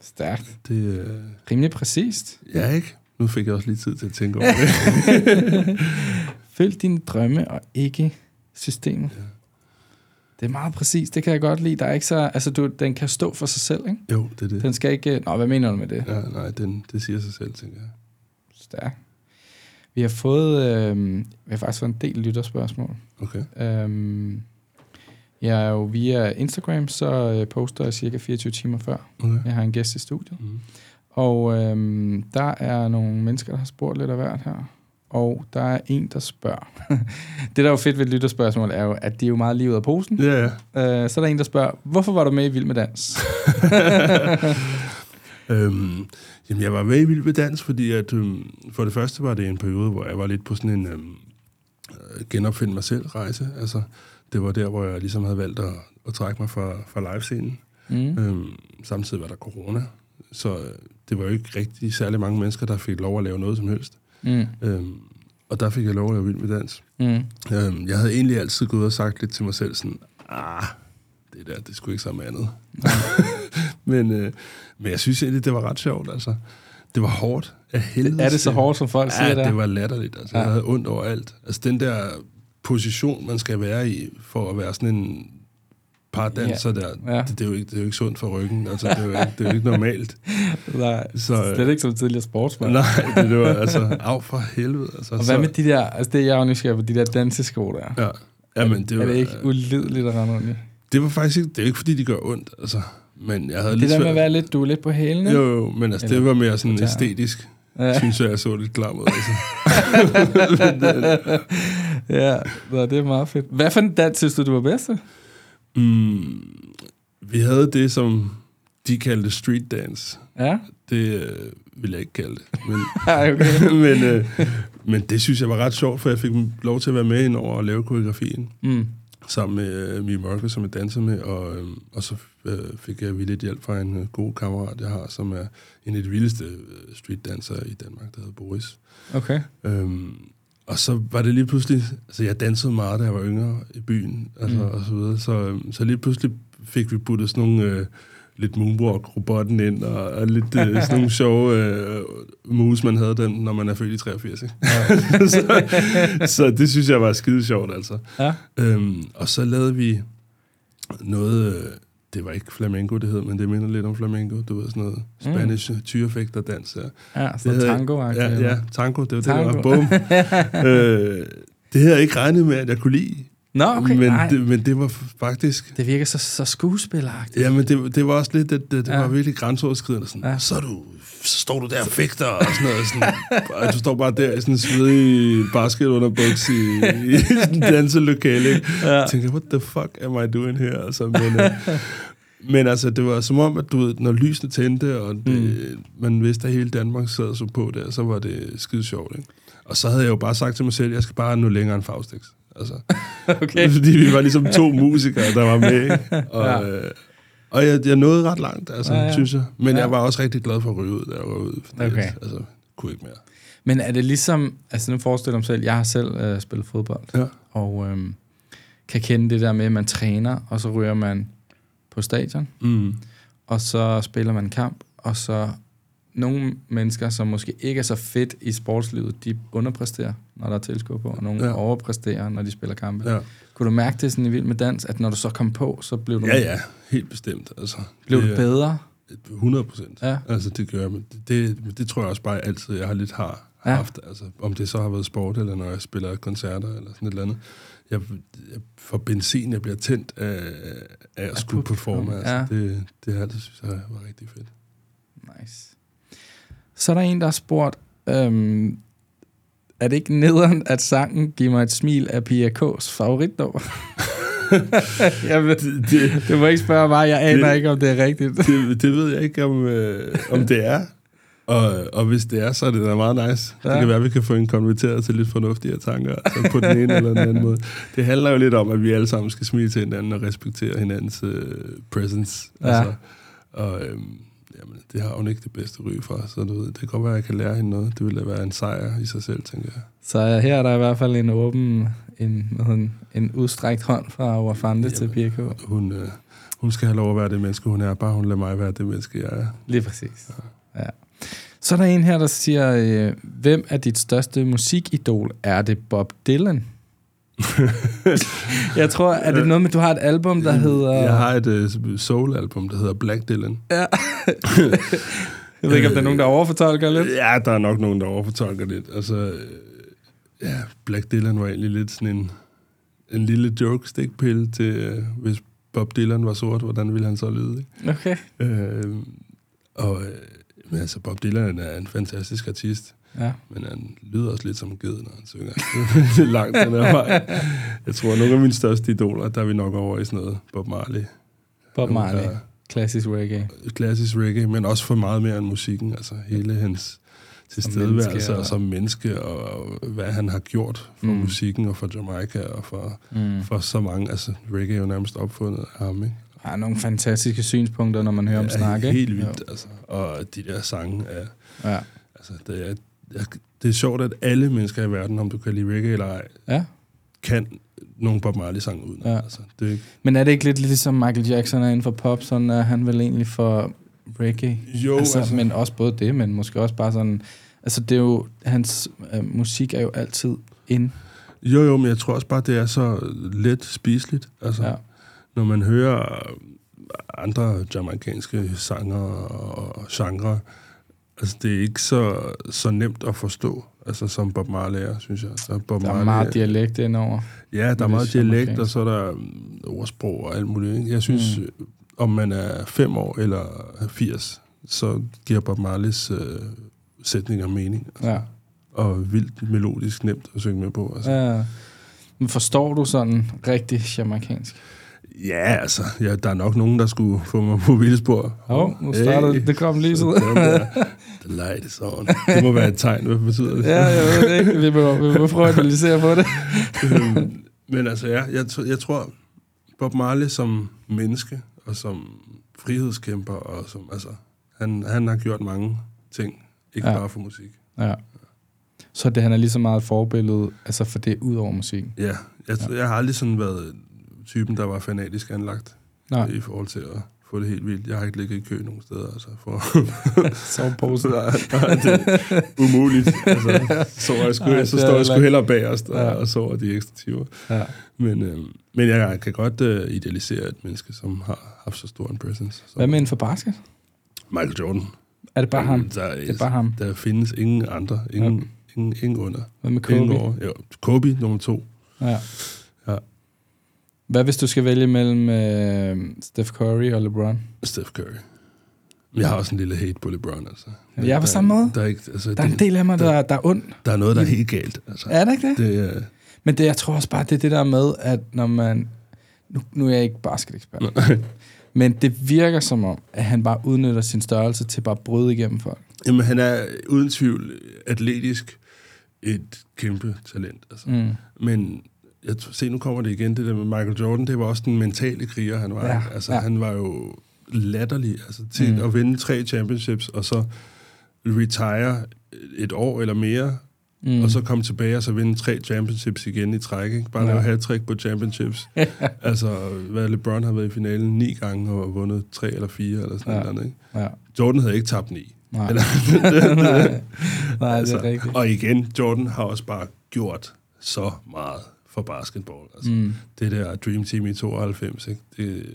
[SPEAKER 2] Stærkt.
[SPEAKER 3] Det, øh,
[SPEAKER 2] Rimelig præcist.
[SPEAKER 3] ja, ikke? Nu fik jeg også lige tid til at tænke over det.
[SPEAKER 2] Følg dine drømme og ikke systemet. Ja. Det er meget præcist. Det kan jeg godt lide. Der er ikke så, altså, du, den kan stå for sig selv, ikke?
[SPEAKER 3] Jo, det er det.
[SPEAKER 2] Den skal ikke... Nå, hvad mener du med det? Ja.
[SPEAKER 3] Ja, nej, den, det siger sig selv, tænker jeg.
[SPEAKER 2] Stærkt. Vi har fået... Øh, vi har faktisk fået en del lytterspørgsmål.
[SPEAKER 3] Okay.
[SPEAKER 2] Øhm, jeg er jo via Instagram, så øh, poster jeg cirka 24 timer før.
[SPEAKER 3] okay.
[SPEAKER 2] Jeg har en gæst i studiet.
[SPEAKER 3] Mm.
[SPEAKER 2] Og øhm, der er nogle mennesker, der har spurgt lidt af hvert her. Og der er en, der spørger. det, der er jo fedt ved et lytterspørgsmål, er jo, at det er jo meget lige ud af posen.
[SPEAKER 3] Ja, ja.
[SPEAKER 2] Øh, så er der en, der spørger, hvorfor var du med i Vild med Dans?
[SPEAKER 3] Øhm, jamen, jeg var med i Vild med Dans, fordi at, øhm, for det første var det en periode, hvor jeg var lidt på sådan en øhm, øh, genopfind mig selv rejse. Altså, det var der, hvor jeg ligesom havde valgt at, at trække mig fra, fra livescenen.
[SPEAKER 2] Mm.
[SPEAKER 3] Øhm, samtidig var der corona, så øh, det var jo ikke rigtig særlig mange mennesker, der fik lov at lave noget som helst.
[SPEAKER 2] Mm.
[SPEAKER 3] Øhm, og der fik jeg lov at lave Vild med Dans.
[SPEAKER 2] Mm.
[SPEAKER 3] Øhm, jeg havde egentlig altid gået og sagt lidt til mig selv sådan, ah, det der, det skulle ikke sammen andet. men, øh, men jeg synes egentlig, det var ret sjovt, altså. Det var hårdt af helvede.
[SPEAKER 2] Er det så
[SPEAKER 3] til.
[SPEAKER 2] hårdt, som folk siger
[SPEAKER 3] Ja, det
[SPEAKER 2] der?
[SPEAKER 3] var latterligt. Altså,
[SPEAKER 2] Ja.
[SPEAKER 3] ja. Jeg havde ondt over alt. Altså, den der position, man skal være i, for at være sådan en pardanser ja. der,
[SPEAKER 2] Ja.
[SPEAKER 3] ja. det, det, er jo ikke, det er jo ikke sundt for ryggen. Altså, det er jo ikke, det er jo ikke normalt.
[SPEAKER 2] Nej,
[SPEAKER 3] Så, øh,
[SPEAKER 2] slet ikke som tidligere sportsmand.
[SPEAKER 3] Nej, det, det var altså, af for helvede. Altså,
[SPEAKER 2] Og hvad med de der, altså det er jeg jo nysgerrig på, de der dansesko der.
[SPEAKER 3] Ja. Jamen, det
[SPEAKER 2] er
[SPEAKER 3] var,
[SPEAKER 2] det ikke ulideligt at rende rundt i?
[SPEAKER 3] Det var faktisk ikke, det er ikke fordi, de gør ondt, altså. Men jeg havde
[SPEAKER 2] Det
[SPEAKER 3] lidt
[SPEAKER 2] der med at
[SPEAKER 3] svært.
[SPEAKER 2] være lidt, du er lidt på hælene.
[SPEAKER 3] Jo, jo, men altså, det
[SPEAKER 2] Eller-
[SPEAKER 3] var mere sådan
[SPEAKER 2] Ja.
[SPEAKER 3] æstetisk.
[SPEAKER 2] Ja.
[SPEAKER 3] Ja. Synes jeg, jeg så lidt klam ud, altså.
[SPEAKER 2] ja, nå, det er meget fedt. Hvad for en dans synes du, du var bedst til?
[SPEAKER 3] Mm, vi havde det, som de kaldte street dance.
[SPEAKER 2] Ja?
[SPEAKER 3] Det øh, vil jeg ikke kalde det. Men,
[SPEAKER 2] Ja, okay.
[SPEAKER 3] men, øh, men det synes jeg var ret sjovt, for jeg fik lov til at være med ind over og lave koreografien.
[SPEAKER 2] Mm.
[SPEAKER 3] Sammen med øh, Mie Mørke, som jeg danser med, og, øh, og så øh, fik jeg lidt hjælp fra en øh, god kammerat, jeg har, som er en af de vildeste øh, streetdansere i Danmark, der hedder Boris.
[SPEAKER 2] Okay.
[SPEAKER 3] Øhm, Og så var det lige pludselig, altså jeg dansede meget, da jeg var yngre i byen, altså
[SPEAKER 2] Mm.
[SPEAKER 3] mm. og så videre, så, øhm, så lige pludselig fik vi puttet sådan nogle, øh, lidt moonwalk-robotten ind, og, og lidt øh, sådan nogle sjove øh, moves, man havde den, når man er født i 83, ikke? så, så det synes jeg var skide sjovt, altså.
[SPEAKER 2] Ja. Mm.
[SPEAKER 3] Øhm, og så lavede vi noget, øh, det var ikke flamenco, det hed, men det minder lidt om flamenco, du ved, sådan noget spanish mm. tyrefægterdans der.
[SPEAKER 2] Ja, sådan noget
[SPEAKER 3] hedder-
[SPEAKER 2] tango
[SPEAKER 3] Ja, ja, tango, det var tango. det,
[SPEAKER 2] Ah, Tango.
[SPEAKER 3] der var. Bum. øh, det havde jeg ikke regnet med, at jeg kunne lide,
[SPEAKER 2] Nå, okay.
[SPEAKER 3] men,
[SPEAKER 2] nej.
[SPEAKER 3] det, men det var f- faktisk...
[SPEAKER 2] Det virker så, så skuespilleragtigt.
[SPEAKER 3] Ja, men det, det var også lidt, det, det, det
[SPEAKER 2] Ja.
[SPEAKER 3] ja. var virkelig grænseoverskridende. Sådan,
[SPEAKER 2] Ja.
[SPEAKER 3] ja. så, er du, så står du der og fægter og sådan noget. Sådan, og du står bare der i sådan en svedig basket under buks i, i sådan en danselokale. Ikke? Ja. Jeg tænker, what the fuck am I doing here? Altså, men, øh, men altså, det var som om, at du ved, når lysene tændte, og det, mm. man vidste, at hele Danmark sad så på der, så var det skide sjovt. Ikke? Og så havde jeg jo bare sagt til mig selv, at jeg skal bare nå længere end Faustix. Altså,
[SPEAKER 2] Okay.
[SPEAKER 3] fordi vi var ligesom to musikere, der var med. ikke? Og,
[SPEAKER 2] Ja.
[SPEAKER 3] ja. øh, og jeg, jeg nåede ret langt, altså,
[SPEAKER 2] Ja,
[SPEAKER 3] ja,
[SPEAKER 2] ja.
[SPEAKER 3] ja. synes jeg. Men
[SPEAKER 2] Ja.
[SPEAKER 3] ja. jeg var også rigtig glad for at ryge ud, da jeg røg ud. Fordi
[SPEAKER 2] Okay.
[SPEAKER 3] Jeg, altså, kunne ikke mere.
[SPEAKER 2] Men er det ligesom, altså nu forestiller jeg mig selv, jeg har selv øh, spillet fodbold,
[SPEAKER 3] Ja.
[SPEAKER 2] og øhm, kan kende det der med, at man træner, og så ryger man på stadion,
[SPEAKER 3] Mm.
[SPEAKER 2] og så spiller man en kamp, og så nogle mennesker, som måske ikke er så fedt i sportslivet, de underpræsterer, når der er tilskuer på, og nogle ja.
[SPEAKER 3] Ja.
[SPEAKER 2] overpræsterer, når de spiller kampe. Ja.
[SPEAKER 3] Ja.
[SPEAKER 2] Kunne du mærke det sådan i Vild Med Dans, at når du så kom på, så blev du,
[SPEAKER 3] ja, ja, helt bestemt. Altså,
[SPEAKER 2] Blev
[SPEAKER 3] det
[SPEAKER 2] du
[SPEAKER 3] er
[SPEAKER 2] bedre?
[SPEAKER 3] 100 procent.
[SPEAKER 2] Ja.
[SPEAKER 3] Altså, det gør jeg. Men det, det, det tror jeg også bare altid, jeg har lidt har
[SPEAKER 2] Ja.
[SPEAKER 3] ja. haft. Altså, om det så har været sport, eller når jeg spiller koncerter, eller sådan et eller andet. Jeg, jeg får benzin, jeg bliver tændt af, af at skulle
[SPEAKER 2] publikum,
[SPEAKER 3] performe. Altså,
[SPEAKER 2] ja.
[SPEAKER 3] ja. det, det har jeg altid synes jeg var rigtig fedt.
[SPEAKER 2] Nice. Så er der en, der har spurgt, øhm, er det ikke nederen, at sangen Giv mig et smil er Pia K's favoritnummer? jeg ved,
[SPEAKER 3] Det, det,
[SPEAKER 2] du må ikke spørge mig, jeg aner
[SPEAKER 3] Det-
[SPEAKER 2] ikke, om det er rigtigt.
[SPEAKER 3] det, det ved jeg ikke, om, øh, om det er. Og, og hvis det er, så er det da meget nice. Ja.
[SPEAKER 2] Ja.
[SPEAKER 3] Det kan være, at vi kan få en konverteret til lidt fornuftigere tanker altså på den ene eller den anden måde. Det handler jo lidt om, at vi alle sammen skal smile til hinanden og respektere hinandens øh, presence. Altså,
[SPEAKER 2] Ja.
[SPEAKER 3] og øhm, jamen, det har hun ikke det bedste ry fra, så du ved, det kan godt være, at jeg kan lære hende noget. Det ville da være en sejr i sig selv, tænker jeg.
[SPEAKER 2] Så øh, her er der i hvert fald en åben, en, hvad hedder den, en udstrækt hånd fra Wafande til
[SPEAKER 3] Jamen.
[SPEAKER 2] Pia K.
[SPEAKER 3] Hun, øh, hun skal have lov at være det menneske, hun er. Bare hun lader mig være det menneske, jeg er.
[SPEAKER 2] Lige præcis. Ja. Så er der en her, der siger, øh, hvem er dit største musikidol? Er det Bob Dylan? jeg tror, er det noget med, du har et album, der hedder...
[SPEAKER 3] Mm, Jeg har et øh, soul-album, der hedder Black Dylan.
[SPEAKER 2] Jeg ved ikke, om der er nogen, der overfortolker lidt.
[SPEAKER 3] Ja, der er nok nogen, der overfortolker lidt. Altså, øh, ja, Black Dylan var egentlig lidt sådan en, en lille joke-stikpille til, øh, hvis Bob Dylan var sort, hvordan ville han så lyde? Ikke?
[SPEAKER 2] Okay.
[SPEAKER 3] Øh, og, øh, men altså, Bob Dylan er en fantastisk artist,
[SPEAKER 2] Ja.
[SPEAKER 3] men han lyder også lidt som en ged, når han synger. det er langt den her vej. Jeg tror, at nogle af mine største idoler, der er vi nok over i sådan noget Bob Marley.
[SPEAKER 2] Bob Marley.
[SPEAKER 3] Der,
[SPEAKER 2] Klassisk reggae.
[SPEAKER 3] klassisk reggae, men også for meget mere end musikken. Altså hele hans
[SPEAKER 2] menneske,
[SPEAKER 3] tilstedeværelse
[SPEAKER 2] eller-
[SPEAKER 3] og som menneske, og hvad han har gjort for
[SPEAKER 2] Mm.
[SPEAKER 3] mm. musikken og for Jamaica og for,
[SPEAKER 2] Mm.
[SPEAKER 3] for så mange. Altså reggae er jo nærmest opfundet af ham, ikke?
[SPEAKER 2] Har nogle fantastiske synspunkter, når man hører ham
[SPEAKER 3] Det er
[SPEAKER 2] snakke.
[SPEAKER 3] Helt
[SPEAKER 2] ikke?
[SPEAKER 3] vildt, altså. Og de der sange er...
[SPEAKER 2] Jo. Ja.
[SPEAKER 3] Altså, det er, jeg- det er sjovt, at alle mennesker i verden, om du kan lide reggae eller ej,
[SPEAKER 2] ja.
[SPEAKER 3] kan nogle Bob Marley-sange uden.
[SPEAKER 2] Ja.
[SPEAKER 3] Altså, det er ikke
[SPEAKER 2] Men er det ikke lidt ligesom Michael Jackson er inden for pop, sådan er han vel egentlig for reggae?
[SPEAKER 3] jo,
[SPEAKER 2] altså, altså, men også både det, men måske også bare sådan... Altså, det er jo... Hans øh, musik er jo altid in.
[SPEAKER 3] Jo, jo, men jeg tror også bare, det er så let spiseligt. Altså,
[SPEAKER 2] Ja.
[SPEAKER 3] ja. Når man hører øh, andre jamaicanske sanger og genre, altså det er ikke så, så nemt at forstå, altså som Bob Marley er, synes jeg. Så Bob
[SPEAKER 2] Der er
[SPEAKER 3] Marley-
[SPEAKER 2] meget dialekt indover.
[SPEAKER 3] Ja, der er meget
[SPEAKER 2] det er
[SPEAKER 3] dialekt,
[SPEAKER 2] jamaicansk.
[SPEAKER 3] og så er der mm, ordsprog og alt muligt. Ikke? Jeg synes, mm. om man er 5 år eller 80, så giver Bob Marleys øh, sætninger mening.
[SPEAKER 2] Ja.
[SPEAKER 3] Og vildt melodisk nemt at synge med på. Altså.
[SPEAKER 2] ja. Men forstår du sådan rigtig jamaikansk?
[SPEAKER 3] Ja, altså, ja, der er nok nogen, der skulle få mig på vildspor.
[SPEAKER 2] Åh, oh, nu starter det. Det kom lige ud.
[SPEAKER 3] Sådan der. The light is on. Det må være et tegn, hvad betyder det?
[SPEAKER 2] Ja, jeg ved det ikke. Vi må, vi må prøve at analysere på det.
[SPEAKER 3] Øhm, Men altså, ja, jeg, tr- jeg tror, Bob Marley som menneske og som frihedskæmper, og som, altså, han, han har gjort mange ting, ikke
[SPEAKER 2] Ja.
[SPEAKER 3] ja. bare for musik.
[SPEAKER 2] Ja. Så det, han er lige så meget et forbillede altså for det ud over musikken.
[SPEAKER 3] Ja, jeg, ja. jeg har aldrig sådan været typen, der var fanatisk anlagt
[SPEAKER 2] Nej.
[SPEAKER 3] i forhold til at få det helt vildt. Jeg har ikke ligget i kø nogen steder, altså, for
[SPEAKER 2] Soveposen.
[SPEAKER 3] nej, nej, det er umuligt. Altså, så, jeg sgu,
[SPEAKER 2] Nej,
[SPEAKER 3] så
[SPEAKER 2] det er
[SPEAKER 3] står jeg
[SPEAKER 2] heller
[SPEAKER 3] sgu
[SPEAKER 2] ikke.
[SPEAKER 3] hellere bagerst og,
[SPEAKER 2] Ja.
[SPEAKER 3] ja. og sover de ekstra timer.
[SPEAKER 2] Ja.
[SPEAKER 3] Men, øh, men jeg kan godt øh, idealisere et menneske, som har haft så stor en presence. Som
[SPEAKER 2] Hvad med inden for basket?
[SPEAKER 3] Michael Jordan.
[SPEAKER 2] Er det bare ham?
[SPEAKER 3] Der,
[SPEAKER 2] Det er bare ham.
[SPEAKER 3] der findes ingen andre. Ingen, ingen, ingen under.
[SPEAKER 2] Hvad med
[SPEAKER 3] Kobe. Ingen
[SPEAKER 2] Kobe?
[SPEAKER 3] over. Ja, Kobe nummer to.
[SPEAKER 2] Ja.
[SPEAKER 3] Ja.
[SPEAKER 2] Hvad hvis du skal vælge mellem øh, Steph Curry og LeBron?
[SPEAKER 3] Steph Curry. Men Jeg har også en lille hate på LeBron, altså.
[SPEAKER 2] Ja, jeg er på
[SPEAKER 3] Der-
[SPEAKER 2] samme måde.
[SPEAKER 3] Der er, ikke, altså,
[SPEAKER 2] Der er en del af mig, der, der er ond.
[SPEAKER 3] der er noget, der er helt galt. Altså.
[SPEAKER 2] Er det ikke det?
[SPEAKER 3] Det, øh,
[SPEAKER 2] Men det, jeg tror også bare, det er det der med, at når man... Nu, nu er jeg ikke basketekspert. Men det virker som om, at han bare udnytter sin størrelse til bare at bryde igennem folk.
[SPEAKER 3] jamen, han er uden tvivl atletisk et kæmpe talent. Altså.
[SPEAKER 2] Mm.
[SPEAKER 3] Men jeg t- se, nu kommer det igen, det der med Michael Jordan, det var også den mentale kriger, han var.
[SPEAKER 2] Ja,
[SPEAKER 3] ikke? altså,
[SPEAKER 2] ja.
[SPEAKER 3] han var jo latterlig altså, til
[SPEAKER 2] Mm.
[SPEAKER 3] mm. at vinde tre championships, og så retire et år eller mere,
[SPEAKER 2] Mm.
[SPEAKER 3] mm. og så komme tilbage og så vinde tre championships igen i træk. Ikke? Bare
[SPEAKER 2] Ja.
[SPEAKER 3] ja. lave hat på championships. altså, hvad LeBron har været i finalen ni gange og vundet tre eller fire eller sådan
[SPEAKER 2] Ja.
[SPEAKER 3] ja. noget. Ikke?
[SPEAKER 2] Ja.
[SPEAKER 3] Jordan havde ikke tabt ni.
[SPEAKER 2] Nej.
[SPEAKER 3] Eller-
[SPEAKER 2] Nej. Nej, det
[SPEAKER 3] Altså,
[SPEAKER 2] er rigtigt.
[SPEAKER 3] Og igen, Jordan har også bare gjort så meget for basketball. Altså,
[SPEAKER 2] Mm.
[SPEAKER 3] det der Dream Team i 92, ikke? Det,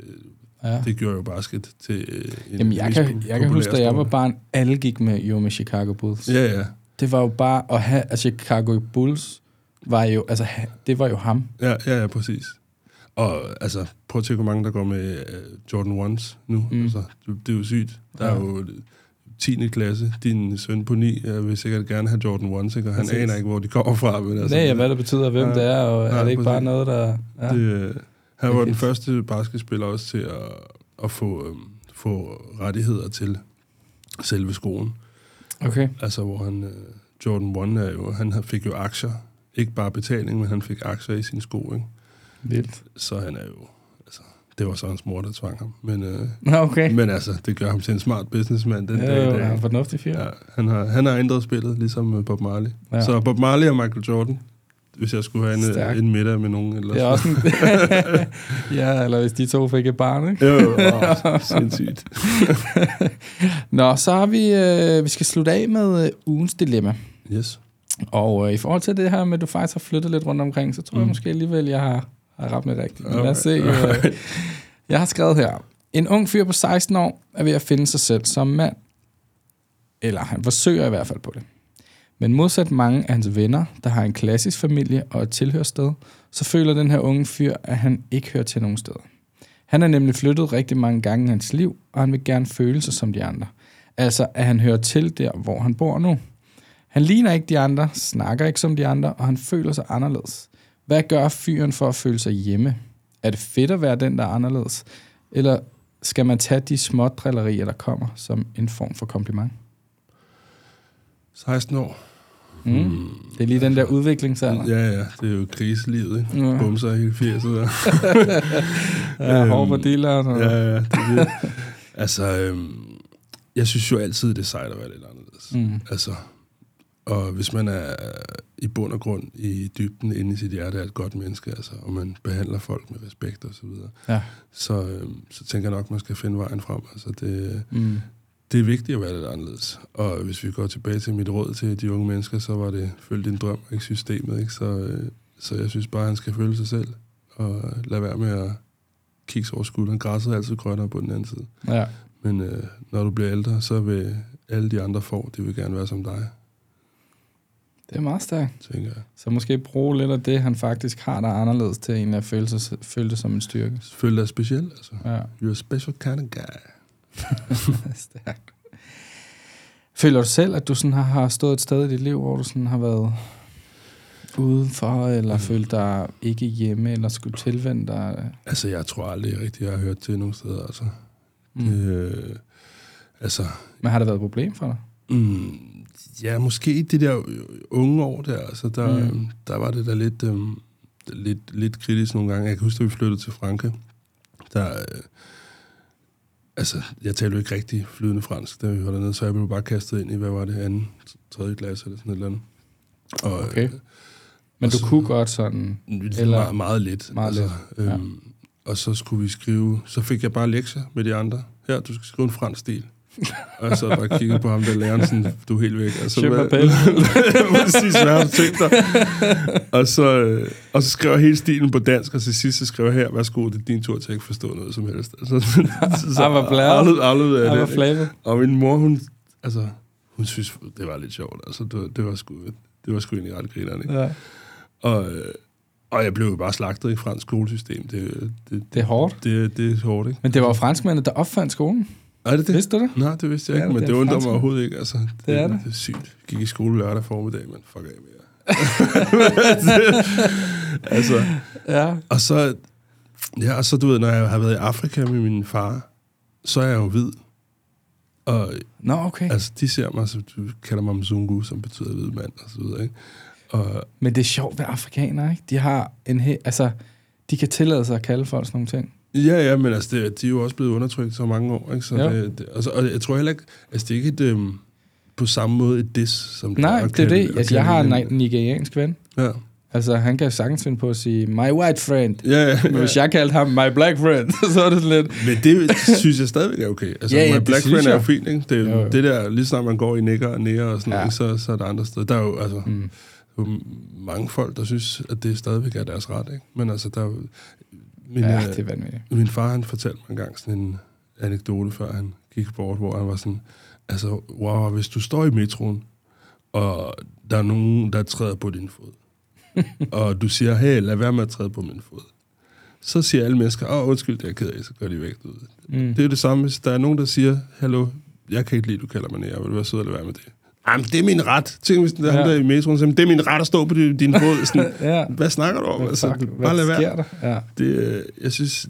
[SPEAKER 2] Ja.
[SPEAKER 3] det gjorde jo basket til øh, en
[SPEAKER 2] Jamen, jeg
[SPEAKER 3] mest
[SPEAKER 2] kan, jeg kan
[SPEAKER 3] populær
[SPEAKER 2] huske, da jeg var
[SPEAKER 3] sport.
[SPEAKER 2] barn, alle gik med, jo med Chicago Bulls.
[SPEAKER 3] Ja, ja.
[SPEAKER 2] Det var jo bare at have, at Chicago Bulls var jo, altså, ha- det var jo ham.
[SPEAKER 3] Ja, ja, ja, præcis. Og altså, prøv at tænke, hvor mange der går med øh, Jordan 1's nu.
[SPEAKER 2] Mm.
[SPEAKER 3] Mm. Altså, det, det er jo sygt. Der
[SPEAKER 2] Ja.
[SPEAKER 3] er jo 10. klasse. Din søn på 9 øh, vil sikkert gerne have Jordan 1's, ikke? og han
[SPEAKER 2] Præcis.
[SPEAKER 3] aner ikke, hvor de kommer fra. Men, altså,
[SPEAKER 2] Nej, hvad det betyder, hvem
[SPEAKER 3] Ja.
[SPEAKER 2] det er, og er
[SPEAKER 3] Ja,
[SPEAKER 2] det ikke bare
[SPEAKER 3] præcis.
[SPEAKER 2] noget, der... Ja.
[SPEAKER 3] Det, øh, han
[SPEAKER 2] Det er
[SPEAKER 3] var den
[SPEAKER 2] fedt.
[SPEAKER 3] første basketspiller også til at, at få, øhm, få rettigheder til selve skolen.
[SPEAKER 2] Okay.
[SPEAKER 3] Altså, hvor han, øh, Jordan 1 er jo, han har- fik jo aktier. Ikke bare betaling, men han fik aktier i sin sko, ikke?
[SPEAKER 2] Vildt.
[SPEAKER 3] Så han er jo, altså, det var så hans mor, der tvang ham. Men, øh,
[SPEAKER 2] Nå, okay.
[SPEAKER 3] men altså, det gør ham til en smart businessman den dag i
[SPEAKER 2] jo,
[SPEAKER 3] dag.
[SPEAKER 2] han er en fornuftig fyr.
[SPEAKER 3] Ja, han, har, han har ændret spillet, ligesom øh, Bob Marley.
[SPEAKER 2] Ja.
[SPEAKER 3] Ja. Så Bob Marley og Michael Jordan, hvis jeg skulle have en,
[SPEAKER 2] Stærkt.
[SPEAKER 3] øh, en middag med nogen. Eller
[SPEAKER 2] Det er
[SPEAKER 3] sådan.
[SPEAKER 2] også en... ja, eller hvis de to fik et barn, ikke?
[SPEAKER 3] Jo, jo, wow, sindssygt.
[SPEAKER 2] Nå, så har vi... Øh, vi skal slutte af med øh, ugens dilemma.
[SPEAKER 3] Yes.
[SPEAKER 2] Og øh, i forhold til det her med, at du faktisk har flyttet lidt rundt omkring, så tror mm. jeg måske alligevel, jeg har, har ramt det rigtigt. Men lad os se. Øh, jeg har skrevet her. En ung fyr på 16 år er ved at finde sig selv som mand. Eller han forsøger i hvert fald på det. Men modsat mange af hans venner, der har en klassisk familie og et tilhørssted, så føler den her unge fyr, at han ikke hører til nogen steder. Han er nemlig flyttet rigtig mange gange i hans liv, og han vil gerne føle sig som de andre. Altså, at han hører til der, hvor han bor nu. Han ligner ikke de andre, snakker ikke som de andre, og han føler sig anderledes. Hvad gør fyren for at føle sig hjemme? Er det fedt at være den, der er anderledes? Eller skal man tage de små drillerier, der kommer, som en form for kompliment?
[SPEAKER 3] 16 år. Hmm.
[SPEAKER 2] Mm. Mm. Det er lige den der udviklingsalder. Mm.
[SPEAKER 3] Ja, ja, det er jo kriselivet, ikke?
[SPEAKER 2] Ja.
[SPEAKER 3] Ja. Bumser i hele 80'erne. der.
[SPEAKER 2] Ja, hård på dealeren. Og...
[SPEAKER 3] ja, ja, det er det. Altså, øhm, jeg synes jo altid, det er sejt at være lidt anderledes.
[SPEAKER 2] Mm.
[SPEAKER 3] Altså, og hvis man er i bund og grund i dybden inde i sit hjerte er et godt menneske, altså, og man behandler folk med respekt og så videre,
[SPEAKER 2] Ja.
[SPEAKER 3] så, øhm, så tænker jeg nok, man skal finde vejen frem. Altså, det,
[SPEAKER 2] Mm.
[SPEAKER 3] det er vigtigt at være lidt anderledes. Og hvis vi går tilbage til mit råd til de unge mennesker, så var det følg din drøm, ikke systemet. Ikke? Så, øh, så jeg synes bare, han skal følge sig selv. Og lad være med at kigge sig over skulderen. Græsset er altid grønnere på den anden side.
[SPEAKER 2] Ja.
[SPEAKER 3] Men øh, når du bliver ældre, så vil alle de andre får, de vil gerne være som dig,
[SPEAKER 2] Det er meget stærkt.
[SPEAKER 3] tænker jeg.
[SPEAKER 2] Så måske bruge lidt af det, han faktisk har, der er anderledes, til egentlig at føle, sig, føle det som en styrke.
[SPEAKER 3] Føl dig speciel, altså.
[SPEAKER 2] Ja.
[SPEAKER 3] You're a special kind of guy.
[SPEAKER 2] Stærkt. Føler du selv, at du sådan har, har stået et sted i dit liv, hvor du sådan har været udenfor, eller mm. følt dig ikke hjemme, eller skulle tilvende dig?
[SPEAKER 3] Altså, jeg tror aldrig rigtig, jeg har hørt til nogen steder, altså.
[SPEAKER 2] Mm.
[SPEAKER 3] Mm. Øh, altså,
[SPEAKER 2] Men har det været et problem for dig?
[SPEAKER 3] Mm, ja, måske i de der øh, unge år der, altså der,
[SPEAKER 2] Mm.
[SPEAKER 3] mm. der var det da lidt, øh, lidt, lidt kritisk nogle gange. Jeg kan huske, da vi flyttede til Frankrig, der, øh, altså, jeg talte jo ikke rigtig flydende fransk, da vi var dernede, så jeg blev bare kastet ind i, hvad var det, anden, tredje klasse eller sådan et eller andet. Og, øh,
[SPEAKER 2] Okay. Men du
[SPEAKER 3] så-
[SPEAKER 2] kunne godt sådan... Eller-
[SPEAKER 3] Eller? Meget, meget lidt.
[SPEAKER 2] Meget lidt, ja.
[SPEAKER 3] Øhm, og så skulle vi skrive, så fik jeg bare lektier med de andre. Her, du skal skrive en fransk stil. og jeg sad bare og kiggede på ham, der læreren sådan, du er helt væk. Altså,
[SPEAKER 2] Je m'appelle.
[SPEAKER 3] præcis, hvad har du tænkt dig? og, så, øh, og så skrev jeg hele stilen på dansk, og til sidst så skrev jeg her, værsgo, det er din tur til at ikke forstå noget som helst. Altså, så,
[SPEAKER 2] Ej, hvor blæret.
[SPEAKER 3] afled- afleverede jeg
[SPEAKER 2] Jeg var
[SPEAKER 3] den, ikke?
[SPEAKER 2] flabet.
[SPEAKER 3] Og min mor, hun, altså, hun synes, det var lidt sjovt. Altså, det, var- det var sgu, det var sgu egentlig ret grineren, ikke?
[SPEAKER 2] Ja.
[SPEAKER 3] Og, øh, og jeg blev jo bare slagtet i fransk skolesystem. Det, det,
[SPEAKER 2] Det er hårdt.
[SPEAKER 3] det, det er hårdt, ikke?
[SPEAKER 2] Men det var jo franskmændene, der opfandt skolen.
[SPEAKER 3] Er det det?
[SPEAKER 2] Vidste du det?
[SPEAKER 3] Nej, det vidste jeg
[SPEAKER 2] Ja,
[SPEAKER 3] ikke, men
[SPEAKER 2] det
[SPEAKER 3] det,
[SPEAKER 2] er
[SPEAKER 3] undrer mig
[SPEAKER 2] franskmænd.
[SPEAKER 3] overhovedet ikke. Altså,
[SPEAKER 2] Det er det.
[SPEAKER 3] Det er sygt. Jeg gik i skole lørdag formiddag, men fuck af med jer. altså,
[SPEAKER 2] Ja.
[SPEAKER 3] og så, ja, og så, du ved, når jeg har været i Afrika med min far, så er jeg jo hvid. Og
[SPEAKER 2] Nå, okay.
[SPEAKER 3] altså, de ser mig, så du kalder mig Mzungu, som betyder hvid mand, og så videre, ikke? Og,
[SPEAKER 2] Men det er sjovt ved afrikanere, ikke? De har en he- altså, de kan tillade sig at kalde folk sådan nogle ting.
[SPEAKER 3] Ja, ja, men altså, det, de er jo også blevet undertrykt så mange år, ikke? Så
[SPEAKER 2] Ja.
[SPEAKER 3] ja. det, det, altså, og jeg tror heller ikke, altså, det er ikke et, øhm, på samme måde et diss, som det
[SPEAKER 2] Nej,
[SPEAKER 3] er. at
[SPEAKER 2] det er
[SPEAKER 3] kalde-
[SPEAKER 2] det.
[SPEAKER 3] at
[SPEAKER 2] Altså, jeg
[SPEAKER 3] kalde
[SPEAKER 2] har en
[SPEAKER 3] hinanden-
[SPEAKER 2] ni- nigeriansk ven.
[SPEAKER 3] Ja,
[SPEAKER 2] Altså, han kan jo sagtens finde på at sige, my white friend.
[SPEAKER 3] ja, ja.
[SPEAKER 2] Men hvis jeg kaldte ham my black friend, så er det sådan lidt...
[SPEAKER 3] Men det synes jeg stadigvæk er okay. Altså,
[SPEAKER 2] Ja,
[SPEAKER 3] ja,
[SPEAKER 2] ja,
[SPEAKER 3] ja,
[SPEAKER 2] det
[SPEAKER 3] my black
[SPEAKER 2] synes
[SPEAKER 3] friend er jo
[SPEAKER 2] jeg.
[SPEAKER 3] fint, ikke? Det,
[SPEAKER 2] Jo,
[SPEAKER 3] er,
[SPEAKER 2] jo.
[SPEAKER 3] jo. det der, lige snart man går i nækker og nære og sådan
[SPEAKER 2] Ja.
[SPEAKER 3] noget, ikke? så, så er der andre steder. Der er jo, altså,
[SPEAKER 2] Mm.
[SPEAKER 3] jo mange folk, der synes, at det stadigvæk er deres ret, ikke? Men altså, der er jo... Min,
[SPEAKER 2] Ja,
[SPEAKER 3] øh,
[SPEAKER 2] det er vanvittigt.
[SPEAKER 3] Min far, han fortalte mig engang sådan en anekdote, før han gik bort, hvor han var sådan, altså, wow, hvis du står i metroen, og der er nogen, der træder på din fod, og du siger, hey, lad være med at træde på min fod, så siger alle mennesker, åh, undskyld, det er jeg ked af, så går de væk. Du ved.
[SPEAKER 2] Mm.
[SPEAKER 3] Det er det samme, hvis der er nogen, der siger, hallo, jeg kan ikke lide, du kalder mig nære, vil du være sød at lade være med det? Jamen, det er min ret. Tænk, hvis der er
[SPEAKER 2] Ja.
[SPEAKER 3] ja. der i metroen, siger, det er min ret at stå på din din fod. Sådan,
[SPEAKER 2] Ja,
[SPEAKER 3] hvad snakker du om?
[SPEAKER 2] men
[SPEAKER 3] Altså,
[SPEAKER 2] fuck,
[SPEAKER 3] bare lad
[SPEAKER 2] hvad
[SPEAKER 3] være
[SPEAKER 2] sker der? Ja.
[SPEAKER 3] det, øh, jeg synes,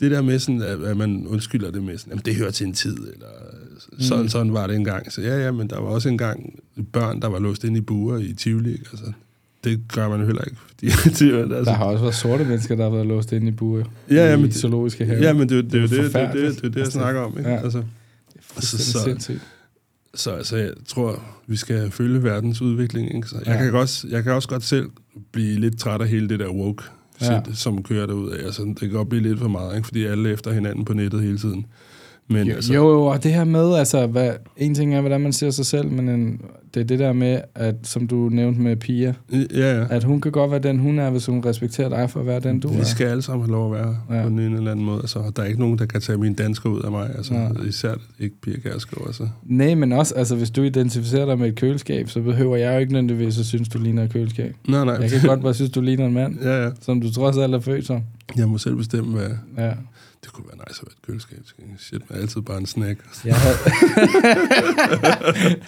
[SPEAKER 3] det der med sådan, at, at man undskylder det med sådan, jamen det hører til en tid, eller øh, sådan,
[SPEAKER 2] Mm.
[SPEAKER 3] mm. sådan var det engang. Så ja, ja, men der var også engang børn, der var låst inde i buer i Tivoli, ikke? altså. Det gør man jo heller ikke, fordi det, er-
[SPEAKER 2] Der
[SPEAKER 3] altså,
[SPEAKER 2] har også været sorte mennesker, der har været låst inde i bure.
[SPEAKER 3] ja, ja,
[SPEAKER 2] i
[SPEAKER 3] men, det-
[SPEAKER 2] zoologiske haver.
[SPEAKER 3] ja, men det, er jo- det, er jo det,
[SPEAKER 2] Det er
[SPEAKER 3] det, det, er jo det, det,
[SPEAKER 2] forfærdeligt.
[SPEAKER 3] er jo det, jeg
[SPEAKER 2] Altså,
[SPEAKER 3] snakker om, ikke?
[SPEAKER 2] ja.
[SPEAKER 3] Altså,
[SPEAKER 2] altså,
[SPEAKER 3] altså,
[SPEAKER 2] så...
[SPEAKER 3] så-
[SPEAKER 2] sindssygt.
[SPEAKER 3] så altså, jeg tror, vi skal følge verdens udvikling, ikke? Så jeg,
[SPEAKER 2] Ja.
[SPEAKER 3] ja. kan også, jeg kan også godt selv blive lidt træt af hele det der woke shit,
[SPEAKER 2] Ja.
[SPEAKER 3] ja. som kører derud af. Altså, det kan godt blive lidt for meget, ikke? fordi alle er efter hinanden på nettet hele tiden. Men
[SPEAKER 2] Jo,
[SPEAKER 3] altså,
[SPEAKER 2] jo, jo, og det her med, altså, hvad, en ting er, hvordan man ser sig selv, men en, det er det der med, at, som du nævnte med Pia,
[SPEAKER 3] Ja, ja.
[SPEAKER 2] at hun kan godt være den, hun er, hvis hun respekterer dig for at være den, Altså, du
[SPEAKER 3] Vi
[SPEAKER 2] er.
[SPEAKER 3] skal alle sammen have lov at være
[SPEAKER 2] Ja.
[SPEAKER 3] ja. på den ene eller anden måde. Altså, og der er ikke nogen, der kan tage min dansker ud af mig. Altså,
[SPEAKER 2] Nej.
[SPEAKER 3] Især ikke Pia Kærsgaard. Altså.
[SPEAKER 2] Nej, men også, altså, hvis du identificerer dig med et køleskab, så behøver jeg jo ikke nødvendigvis at synes, du ligner et køleskab.
[SPEAKER 3] Nej, nej.
[SPEAKER 2] Jeg kan godt bare synes, du ligner en mand,
[SPEAKER 3] ja, ja.
[SPEAKER 2] som du trods alt er født som.
[SPEAKER 3] Jeg må selv bestemme, hvad...
[SPEAKER 2] Ja.
[SPEAKER 3] Det kunne være nice at være et køleskab. til gengæld. Shit, man er altid bare en snack.
[SPEAKER 2] Jeg havde...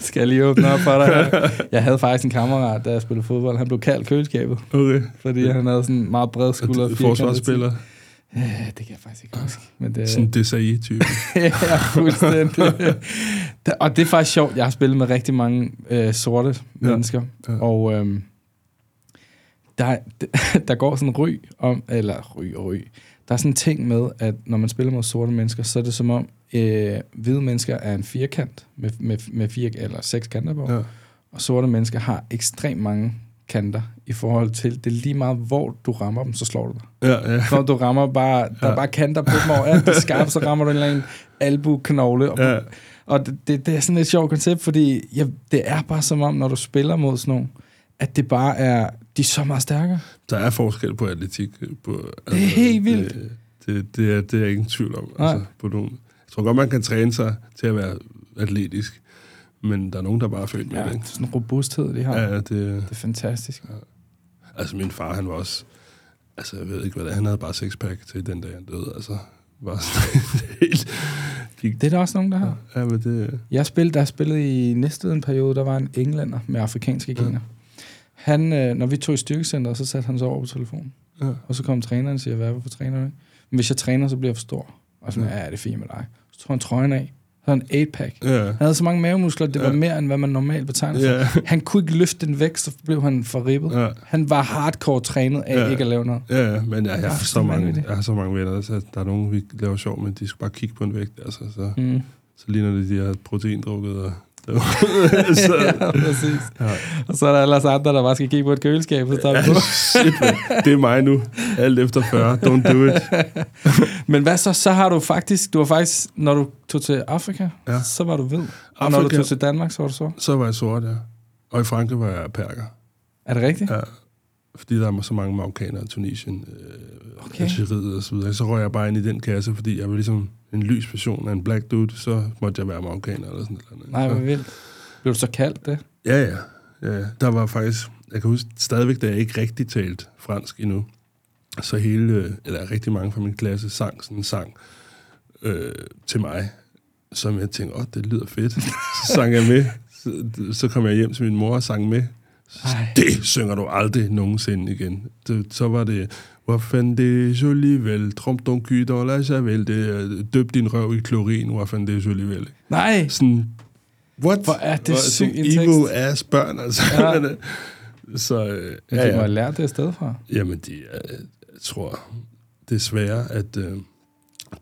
[SPEAKER 2] skal jeg lige åbne op for dig her? Jeg havde faktisk en kammerat, da jeg spillede fodbold. Han blev kaldt køleskabet,
[SPEAKER 3] Okay.
[SPEAKER 2] fordi han havde sådan en meget bred skulder.
[SPEAKER 3] Skulder,
[SPEAKER 2] og firkantet
[SPEAKER 3] forsvarsspiller.
[SPEAKER 2] ting. Øh, det kan jeg faktisk ikke huske. Men det,
[SPEAKER 3] Sådan en Desai-type.
[SPEAKER 2] ja, fuldstændig. Da- og det er faktisk sjovt. Jeg har spillet med rigtig mange øh, sorte ja.
[SPEAKER 3] Ja,
[SPEAKER 2] mennesker. Ja.
[SPEAKER 3] ja.
[SPEAKER 2] Og øhm, der, der går sådan en ry om, eller ry og ry. Der er sådan en ting med, at når man spiller mod sorte mennesker, så er det som om, øh, hvide mennesker er en firkant med, med, med fire eller seks kanter på. Ja.
[SPEAKER 3] ja.
[SPEAKER 2] Og sorte mennesker har ekstremt mange kanter i forhold til, det er lige meget, hvor du rammer dem, så slår du dig.
[SPEAKER 3] ja, ja.
[SPEAKER 2] Når du rammer bare, der er
[SPEAKER 3] Ja.
[SPEAKER 2] bare kanter på dem overalt, det er skarpt, så rammer du en eller anden albuknogle. Og,
[SPEAKER 3] Ja,
[SPEAKER 2] og det, det, det, er sådan et sjovt koncept, fordi ja, det er bare som om, når du spiller mod sådan nogen, at det bare er, de er så meget stærkere.
[SPEAKER 3] der er forskel på atletik. øh, På, altså, øh,
[SPEAKER 2] Det er helt vildt.
[SPEAKER 3] Det, det, det, er, det er jeg ingen tvivl om.
[SPEAKER 2] Nej.
[SPEAKER 3] Altså, på nogen. Jeg tror godt, man kan træne sig til at være atletisk. Men der er nogen, der bare er født med
[SPEAKER 2] Ja,
[SPEAKER 3] det. Ikke?
[SPEAKER 2] sådan en robusthed, de har. Ja.
[SPEAKER 3] Ja, ja, det,
[SPEAKER 2] Det er fantastisk.
[SPEAKER 3] Altså, min far, han var også... Altså, jeg ved ikke, hvad det er. Han havde bare sixpack til den dag, han døde. Altså, var sådan helt... Gik...
[SPEAKER 2] Det er der også nogen, der har.
[SPEAKER 3] Ja, men det...
[SPEAKER 2] Jeg spillede, der jeg spillede i næste en periode, der var en englænder med afrikanske gener. Han, øh, når vi tog i styrkecenteret, så satte han sig over på telefonen.
[SPEAKER 3] Ja.
[SPEAKER 2] Og så kom træneren og siger, hvad hvorfor træner du ikke? Men hvis jeg træner, så bliver jeg for stor. Og så ja,
[SPEAKER 3] Ja.
[SPEAKER 2] det er fint med dig. Så tog han trøjen af. Så havde han 8-pack.
[SPEAKER 3] Ja.
[SPEAKER 2] Han havde så mange mavemuskler, det var
[SPEAKER 3] Ja.
[SPEAKER 2] mere, end hvad man normalt betegner for.
[SPEAKER 3] Ja.
[SPEAKER 2] Han kunne ikke løfte den væk, så blev han for ribbet.
[SPEAKER 3] Ja.
[SPEAKER 2] Han var hardcore trænet af
[SPEAKER 3] Ja.
[SPEAKER 2] ikke at lave noget.
[SPEAKER 3] Ja, ja, men jeg, jeg, har så
[SPEAKER 2] Fuldstændig
[SPEAKER 3] mange,
[SPEAKER 2] vanvittigt.
[SPEAKER 3] jeg har så mange venner, så der er nogen, vi laver sjov, men de skal bare kigge på en vægt, altså, så,
[SPEAKER 2] Mm.
[SPEAKER 3] så ligner det, de har proteindrukket og så,
[SPEAKER 2] ja, præcis.
[SPEAKER 3] Ja.
[SPEAKER 2] Og så er der ellers andre, der bare skal kigge på et køleskab, så
[SPEAKER 3] ja,
[SPEAKER 2] ja. på.
[SPEAKER 3] shit, man. det er mig nu. Alt efter 40. Don't do it.
[SPEAKER 2] Men hvad så? Så har du faktisk, du har faktisk, når du tog til Afrika,
[SPEAKER 3] Ja.
[SPEAKER 2] ja. så var du ved. Og når du
[SPEAKER 3] Afrika.
[SPEAKER 2] tog til Danmark, så var du så.
[SPEAKER 3] Så var jeg sort, ja. Og i Frankrig var jeg perker.
[SPEAKER 2] Er det rigtigt?
[SPEAKER 3] Ja, fordi der er så mange marokkanere i Tunisien, øh,
[SPEAKER 2] Okay.
[SPEAKER 3] okay. Algeriet og så videre. Så røg jeg bare ind i den kasse, fordi jeg var ligesom en lys person af en black dude, så måtte jeg være marokkaner eller sådan noget.
[SPEAKER 2] Nej, hvor vildt. Blev du så kaldt det?
[SPEAKER 3] Ja, ja, ja. ja. Der var faktisk, jeg kan huske stadigvæk, da jeg ikke rigtig talt fransk endnu, så hele, øh, eller rigtig mange fra min klasse sang sådan en sang øh, til mig, som jeg tænkte, åh, det lyder fedt. Så sang jeg med. Så, så kom jeg hjem til min mor og sang med.
[SPEAKER 2] Ej.
[SPEAKER 3] Det synger du aldrig nogensinde igen. Det, så var det, hvor fanden det joli vel, tromp don cul dans la javel, det er, døb din røv i klorin, hvor fanden det joli vel.
[SPEAKER 2] Nej!
[SPEAKER 3] Sådan, what?
[SPEAKER 2] Hvor er det
[SPEAKER 3] Hvor-
[SPEAKER 2] syg
[SPEAKER 3] sådan
[SPEAKER 2] en tekst.
[SPEAKER 3] Evil ass børn, altså.
[SPEAKER 2] Ja.
[SPEAKER 3] Ja. så, øh,
[SPEAKER 2] Men ja, ja.
[SPEAKER 3] ja,
[SPEAKER 2] du må have
[SPEAKER 3] ja.
[SPEAKER 2] lært det et sted fra.
[SPEAKER 3] Jamen, de, er- jeg tror desværre, at øh,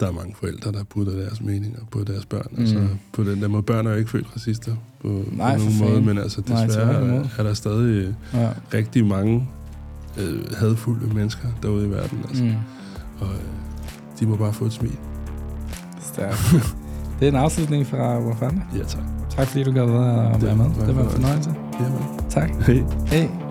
[SPEAKER 3] der er mange forældre, der putter deres meninger på deres børn. Mm. Altså,
[SPEAKER 2] Mm.
[SPEAKER 3] på den der måde. Børn er jo ikke født racister på,
[SPEAKER 2] Nej,
[SPEAKER 3] på
[SPEAKER 2] for
[SPEAKER 3] nogen måde,
[SPEAKER 2] fanden.
[SPEAKER 3] men altså
[SPEAKER 2] Nej,
[SPEAKER 3] desværre
[SPEAKER 2] tværtimod.
[SPEAKER 3] Nej, er der stadig... Øh,
[SPEAKER 2] Ja.
[SPEAKER 3] rigtig mange øh, hadfulde mennesker derude i verden. Altså. Mm.
[SPEAKER 2] Mm.
[SPEAKER 3] Og øh, de må bare få et smil.
[SPEAKER 2] Stærkt. Det er en afslutning fra Wafanda.
[SPEAKER 3] Ja, tak.
[SPEAKER 2] Tak fordi du gad at være
[SPEAKER 3] Det
[SPEAKER 2] med.
[SPEAKER 3] var
[SPEAKER 2] Det var en
[SPEAKER 3] en
[SPEAKER 2] fornøjelse.
[SPEAKER 3] Jamen.
[SPEAKER 2] Tak.
[SPEAKER 3] Hey.
[SPEAKER 2] Hej.